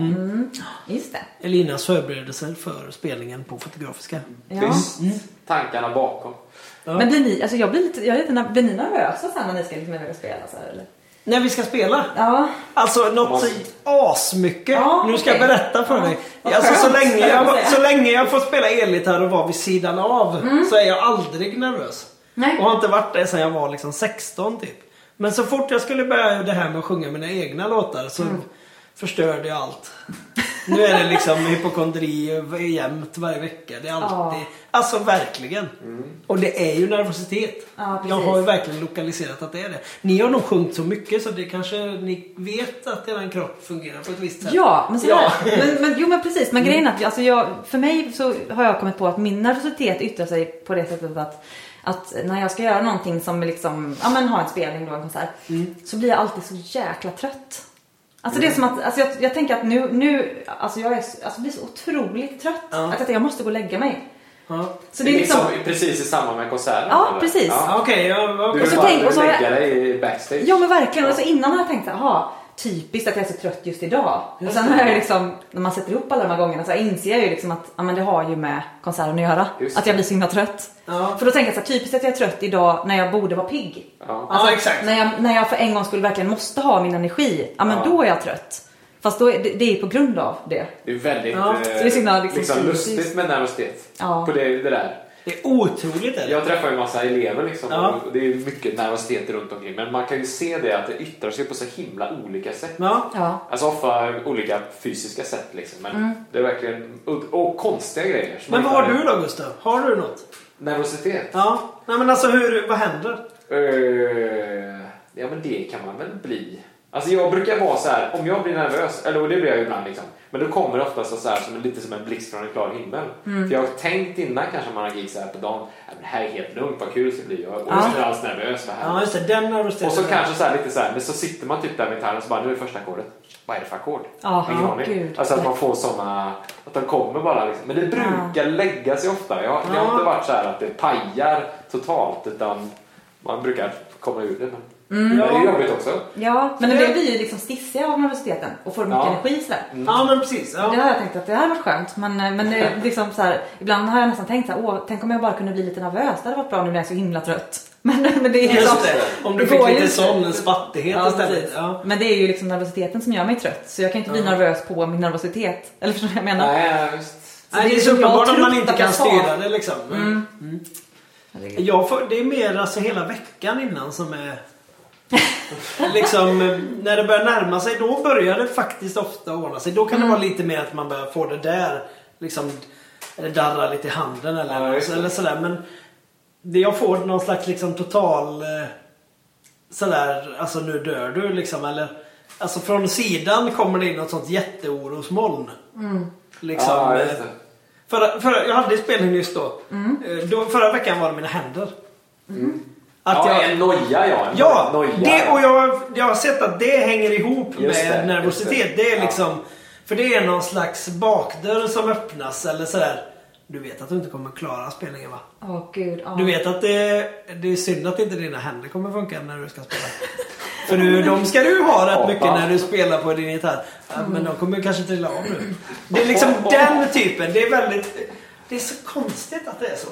S1: Just det.
S5: Elinas förberedelser för spelningen på Fotografiska.
S1: Ja. Mm.
S7: visst. Tankarna bakom.
S1: Men blir ni, alltså jag blir lite, jag är lite, ner- blir ni nervösa sen när ni ska liksom iväg och spela så här eller?
S5: När vi ska spela?
S1: Ja.
S5: Alltså något så asmycket.
S1: Ja,
S5: nu ska jag
S1: okej.
S5: berätta för dig.
S1: vad
S5: Alltså, så,
S1: skönt,
S5: länge
S1: jag
S5: jag,
S1: säga.
S5: så länge jag får spela elgitarr och vara vid sidan av
S1: Mm.
S5: så är jag aldrig nervös.
S1: Nej.
S5: Och har inte varit det sedan jag var liksom 16 typ. Men så fort jag skulle börja det här med att sjunga mina egna låtar så
S1: Mm.
S5: förstörde jag allt. Nu är det liksom hypokondri jämt varje vecka. Det är alltid...
S1: Ja.
S5: Alltså verkligen. Och det är ju nervositet.
S1: Ja, precis.
S5: jag har ju verkligen lokaliserat att det är det. Ni har nog sjungit så mycket så det kanske ni vet att er kropp fungerar på ett visst sätt.
S1: Ja, men, så
S5: Ja. Mm.
S1: men, men Jo men precis. Men grejen är att alltså jag, för mig så har jag kommit på att min nervositet yttrar sig på det sättet att, att när jag ska göra någonting som är liksom, ja men ha en spelning då, en konsert.
S5: Mm.
S1: Så blir jag alltid så jäkla trött. Alltså det är som att, alltså jag, jag tänker att nu, nu alltså jag är, så- alltså blir så otroligt trött.
S5: Ja.
S1: Att jag tänker, jag måste gå och lägga mig.
S5: Ja.
S1: Så det är liksom,
S7: precis i samband med konserten?
S1: Ja,
S7: eller?
S1: precis.
S7: Ja.
S5: Ja, Okej, ja,
S7: Du
S5: okej.
S1: Och så
S7: vill bara
S1: tänk- och så har jag-
S7: lägga dig i backstage?
S1: ja men verkligen. Och så innan har jag tänkt såhär, jaha, typiskt att jag är så trött just idag. och sen har jag ju liksom, när man sätter ihop alla de här gångerna så här inser jag ju liksom att, ja men det har ju med konserten att göra.
S7: Just
S1: Att jag blir så himla trött.
S5: Ja.
S1: För då tänker jag såhär, typiskt att jag är trött idag när jag borde vara pigg.
S7: Ja.
S5: Ja, Alltså, exakt.
S1: När jag, när jag för en gång skulle verkligen måste ha min energi, ja men
S7: Ja.
S1: då är jag trött. Fast då är, det, det är på grund av det.
S7: Det är väldigt
S5: Ja.
S7: eh,
S1: Så det är signal liksom-
S7: lustigt med nervositet.
S1: Ja.
S7: På det, det där.
S5: Det är otroligt är det.
S7: Jag träffar ju en massa elever liksom,
S5: Ja.
S7: och det är mycket nervositet runt omkring. Men man kan ju se det att det yttrar sig på så himla olika sätt.
S5: Ja.
S1: Ja.
S7: Alltså ofta olika fysiska sätt liksom. Men det är verkligen... Och, och konstiga grejer. som
S5: Mm. Men
S7: man
S5: vad har
S7: hittar-
S5: du då Gustav? Har du något?
S7: Nervositet?
S5: Ja. Nej men alltså hur, vad händer?
S7: Eh, ja men det kan man väl bli. Alltså jag brukar vara så här, om jag blir nervös, eller och det blir jag ju ibland liksom. Men då kommer det oftast så här, som, en- lite som en blixt från en klar himmel.
S5: Mm.
S7: För jag har tänkt innan kanske man har gig så här på dagen, "Ja, men det här är helt lugnt, vad kul det ska bli. Jag är
S1: Ja.
S7: inte alls nervös för det
S5: Ja
S7: här.
S5: just det, den nervositeten.
S7: och så kanske så här, lite så här, men så sitter man typ där med gitarren och så bara, nu är första ackordet. Vad är det för ackord?
S1: Ja,
S7: Ingen aning.
S1: gud.
S7: Alltså att man får såna, att de kommer bara liksom. Men det brukar lägga sig ofta. Jag, Det har inte varit så här att det pajar totalt utan man brukar komma ur det. Men
S1: Mm.
S7: men det är jobbigt också.
S1: Ja, men en del blir ju liksom stissiga av nervositeten och får mycket
S7: Ja.
S1: energi sådär.
S5: Ja men precis.
S1: Det
S5: Ja.
S1: har jag tänkt att det här varit skönt. Men, men det är liksom så här, ibland har jag nästan tänkt så här, åh, tänk om jag bara kunde bli lite nervös. Det hade varit bra nu när jag är så himla trött. [LAUGHS] Men, men det är liksom,
S5: Just det. Om du
S1: det
S5: fick
S1: går ju
S5: lite
S1: inte.
S5: sån, en spattighet
S1: Ja,
S5: istället.
S1: precis.
S5: Ja.
S1: Men det är ju liksom nervositeten som gör mig trött. Så jag kan inte bli nervös på min nervositet. [LAUGHS] Eller förstår du vad jag menar?
S7: Nej, visst.
S5: Nej,
S1: det
S5: det är
S1: är
S5: så
S1: som jag
S5: uppenbart att man
S1: trott
S5: inte
S1: att
S5: kan
S1: jag sa.
S5: styra det liksom. Mm.
S1: Herregud.
S5: Jag får, det är mer alltså hela veckan innan som är... [LAUGHS] liksom, eh, när det börjar närma sig, då börjar det faktiskt ofta ordna sig. Då kan
S1: Mm.
S5: det vara lite mer att man börjar få det där, liksom eller darra lite i handen eller,
S7: Ja, just det.
S5: eller sådär. Men det, jag får någon slags liksom total eh,
S2: sådär, alltså nu dör du liksom eller Alltså från sidan kommer det in något sånt jätteorosmoln. Liksom.
S7: Ja, just det.
S2: förra, förra, jag hade spelning nyss då. Eh, då. Förra veckan var det mina händer. Att
S7: ja,
S2: jag,
S7: en noja ja. En
S2: ja,
S7: noja.
S2: det, och jag, jag har sett att det hänger ihop
S7: Just
S2: med
S7: det,
S2: nervositet.
S7: just det.
S2: Det. är
S7: Ja.
S2: liksom, För det är någon slags bakdörr som öppnas eller sådär. Du vet att du inte kommer klara spelningen va?
S1: Åh gud. ja.
S2: Du vet att det, det är synd att inte dina händer kommer funka när du ska spela. För du, de ska du ha rätt mycket när du spelar på din gitarr. Ja, Men de kommer kanske trilla av nu. Det är liksom den typen. Det är väldigt... Det är så konstigt att det är så.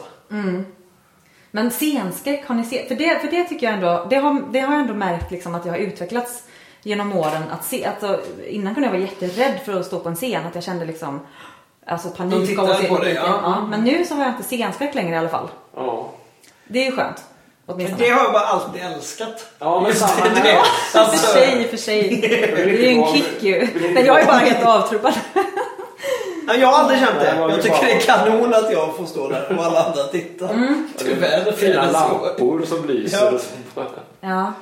S1: Men scenskräck, har ni sett? För det, för det tycker jag ändå, det har, det har jag ändå märkt liksom att jag har utvecklats genom åren att se. Alltså, innan kunde jag vara jätterädd för att stå på en scen, att jag kände liksom Alltså
S2: De
S1: panik
S2: tittar
S1: av att se
S2: på dig,
S1: publiken.
S2: ja.
S1: Ja, Men nu så har jag inte scenskräck längre i alla fall.
S7: Ja.
S1: Det är ju skönt. Åtminstone.
S2: Det har jag bara alltid älskat.
S7: Ja, men
S2: Just
S7: samma
S2: det.
S7: här.
S1: för
S2: Alltså,
S1: sig, för sig. Det är ju en kick ju. Men jag är bara helt avtrubbad.
S2: nej, jag har aldrig känt
S7: Nej,
S2: det.
S7: det var ju
S2: Jag tycker
S7: bara-
S2: det är kanon att jag får stå där och alla andra tittar. Tyvärr. det
S7: Fina
S2: är så.
S7: lampor som lyser.
S2: Ja.
S7: Ja.
S1: Ja.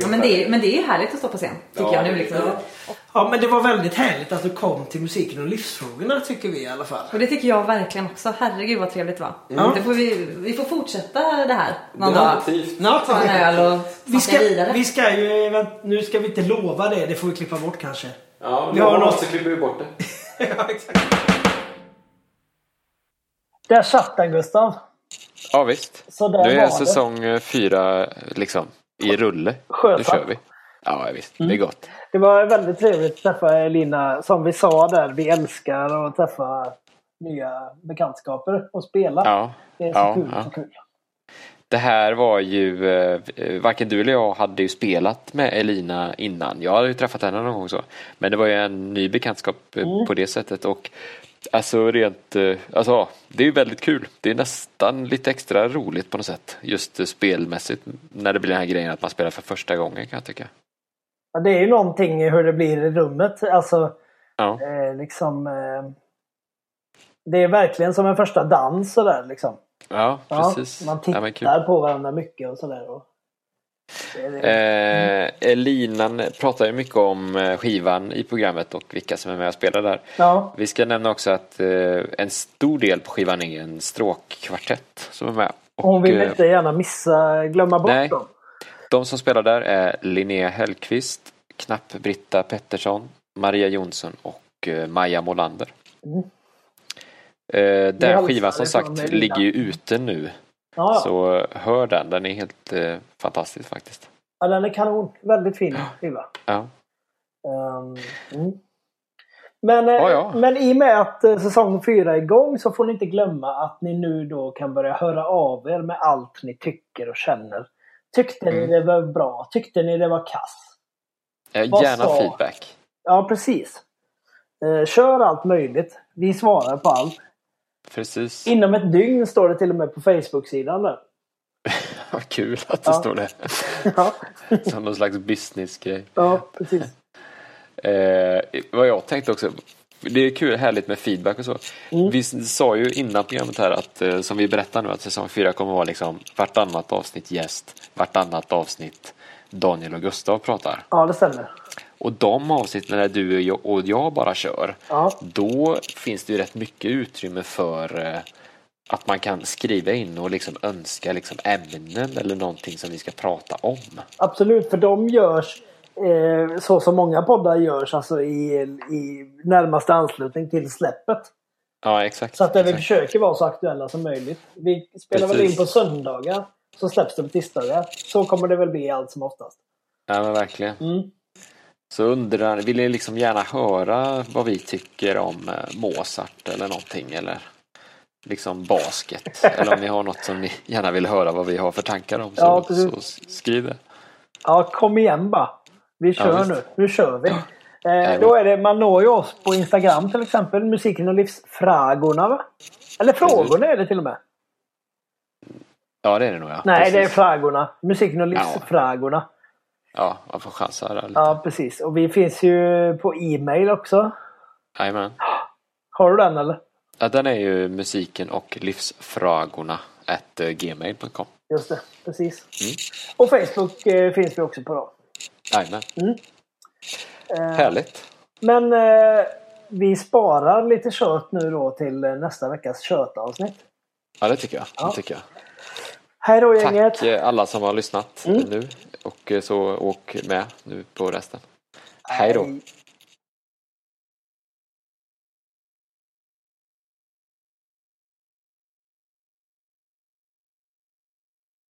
S1: Ja, men, det är, men det är härligt att stå på scen, tycker
S7: Ja,
S1: jag nu.
S7: det är
S1: Liksom.
S7: det.
S2: Ja, men det var väldigt härligt att du kom till musiken och livsfrågorna tycker vi i alla fall.
S1: Och det tycker jag verkligen också. Herregud vad trevligt det var.
S2: Ja.
S1: Det får vi, vi får fortsätta det här någon dag.
S7: Definitivt.
S2: Ja,
S1: Ta en öl och
S2: Vi ska,
S1: vidare.
S2: vi ska ju, vänt- nu ska vi inte lova det, det får vi klippa bort kanske.
S7: Ja,
S2: Vi har
S7: någon
S2: något-
S7: så klipper vi bort det.
S2: ja, exakt.
S5: Där satt den Gustav.
S4: Ja, visst.
S5: Så där
S4: Nu
S5: var
S4: är
S5: det.
S4: säsong eh, fyra liksom i rulle. Nu
S5: Sjösatt.
S4: kör vi. Ja, visst.
S5: Mm.
S4: Det är gott.
S5: Det var väldigt trevligt att träffa Elina. Som vi sa där, vi älskar att träffa nya bekantskaper och spela.
S4: Ja.
S5: Det är så
S4: Ja,
S5: kul.
S4: ja.
S5: Så kul.
S4: Det här var ju, eh, varken du eller jag hade ju spelat med Elina innan. Jag hade ju träffat henne någon gång så. Men det var ju en ny bekantskap eh,
S5: Mm.
S4: på det sättet och alltså rent, eh, alltså ja, det är ju väldigt kul. Det är nästan lite extra roligt på något sätt. Just eh, spelmässigt när det blir den här grejen att man spelar för första gången kan jag tycka.
S5: Ja, det är ju någonting i hur det blir i rummet. Alltså,
S4: Ja,
S5: eh, liksom, eh, det är verkligen som en första dans sådär. Liksom.
S4: ja
S5: Ja,
S4: precis.
S5: Man
S4: Ja, men
S5: tittar
S4: kul.
S5: på varandra mycket och sådär. Och... Det är det.
S4: Eh, Elina pratar ju mycket om eh, skivan i programmet och vilka som är med och spelar där.
S5: Ja,
S4: Vi ska nämna också att eh, en stor del på skivan är en stråkkvartett som är med. Och,
S5: hon vill
S4: eh,
S5: inte gärna missa, glömma bort
S4: nej.
S5: dem.
S4: de som spelar där är Linnea Hellqvist, Knapp-Britta Pettersson, Maria Jonsson och eh, Maja Molander.
S5: Mm.
S4: Eh,
S5: Vi hälsar
S4: den skivan som
S5: ifrån
S4: sagt
S5: Elina.
S4: ligger ju ute nu.
S5: Ja, ja.
S4: Så eh, hör den, den är helt eh, fantastisk faktiskt.
S5: ja, den är kanon. Väldigt fin skiva.
S4: Ja.
S5: Ehm, mm. Men, eh,
S4: Ja, ja.
S5: men i och med att eh, säsong fyra är igång så får ni inte glömma att ni nu då kan börja höra av er med allt ni tycker och känner. Tyckte
S4: Mm.
S5: ni det var bra? Tyckte ni det var kass?
S4: Eh,
S5: Vad
S4: gärna
S5: sa-
S4: feedback.
S5: Ja, precis. Eh, Kör allt möjligt. Vi svarar på allt.
S4: Precis.
S5: Inom ett dygn står det till och med på Facebook-sidan där.
S4: [LAUGHS]
S5: [LAUGHS]
S4: Vad kul att det
S5: Ja.
S4: står det.
S5: Ja,
S4: Som någon slags businessgrej.
S5: ja precis.
S4: Eh, vad jag tänkte också, det är kul, härligt med feedback och så.
S5: Mm.
S4: Vi s- sa ju innan programmet här, att, eh, som vi berättar nu, att säsong fyra kommer vara liksom vartannat avsnitt gäst, vartannat avsnitt Daniel och Gustav pratar.
S5: Ja, det stämmer.
S4: Och de avsnitten när du och jag- och jag bara kör,
S5: Ja.
S4: då finns det ju rätt mycket utrymme för eh, att man kan skriva in och liksom önska liksom ämnen eller någonting som vi ska prata om.
S5: Absolut, för de görs eh, så som många poddar görs, alltså i, i närmaste anslutning till släppet.
S4: Ja, exakt.
S5: Så att vi
S4: exakt.
S5: försöker vara så aktuella som möjligt. Vi spelar väl
S4: Precis.
S5: in på söndagar, så släpps det på tisdagar. Så kommer det väl bli allt som oftast.
S4: Ja, men verkligen.
S5: Mm.
S4: Så undrar, vill ni liksom gärna höra vad vi tycker om eh, Mozart eller någonting eller liksom
S5: [LAUGHS]
S4: basket? eller om ni har något som ni gärna vill höra vad vi har för tankar om så,
S5: Ja, precis.
S4: så skriv det.
S5: Ja, kom igen bara. Vi kör
S4: visst.
S5: nu. Nu kör vi. Eh,
S4: men-
S5: då är det, man når ju oss på Instagram till exempel. Musiken och livsfrågorna va? Eller frågorna är det till och med.
S4: Ja, det är det nog ja.
S5: Nej, det är
S4: Precis.
S5: frågorna. Musiken och
S4: Ja.
S5: livsfrågorna.
S4: Ja, man får chansa där lite.
S5: Ja, precis. Och vi finns ju på e-mail också.
S4: Jajamän.
S5: Har du den eller?
S4: Ja, den är ju musiken och livsfrågorna at eh, gmail.com.
S5: Just det, precis. Och Facebook eh, finns vi också på då.
S4: Jajamän.
S5: Mm. Eh,
S4: Härligt.
S5: Men eh, vi sparar lite kött nu då till eh, nästa veckas köttavsnitt.
S4: Ja, det tycker jag. Det tycker jag.
S5: Hej då gänget!
S4: Tack eh, alla som har lyssnat eh, nu. Och eh, så åk med nu på resten. Hej då.
S5: Hej.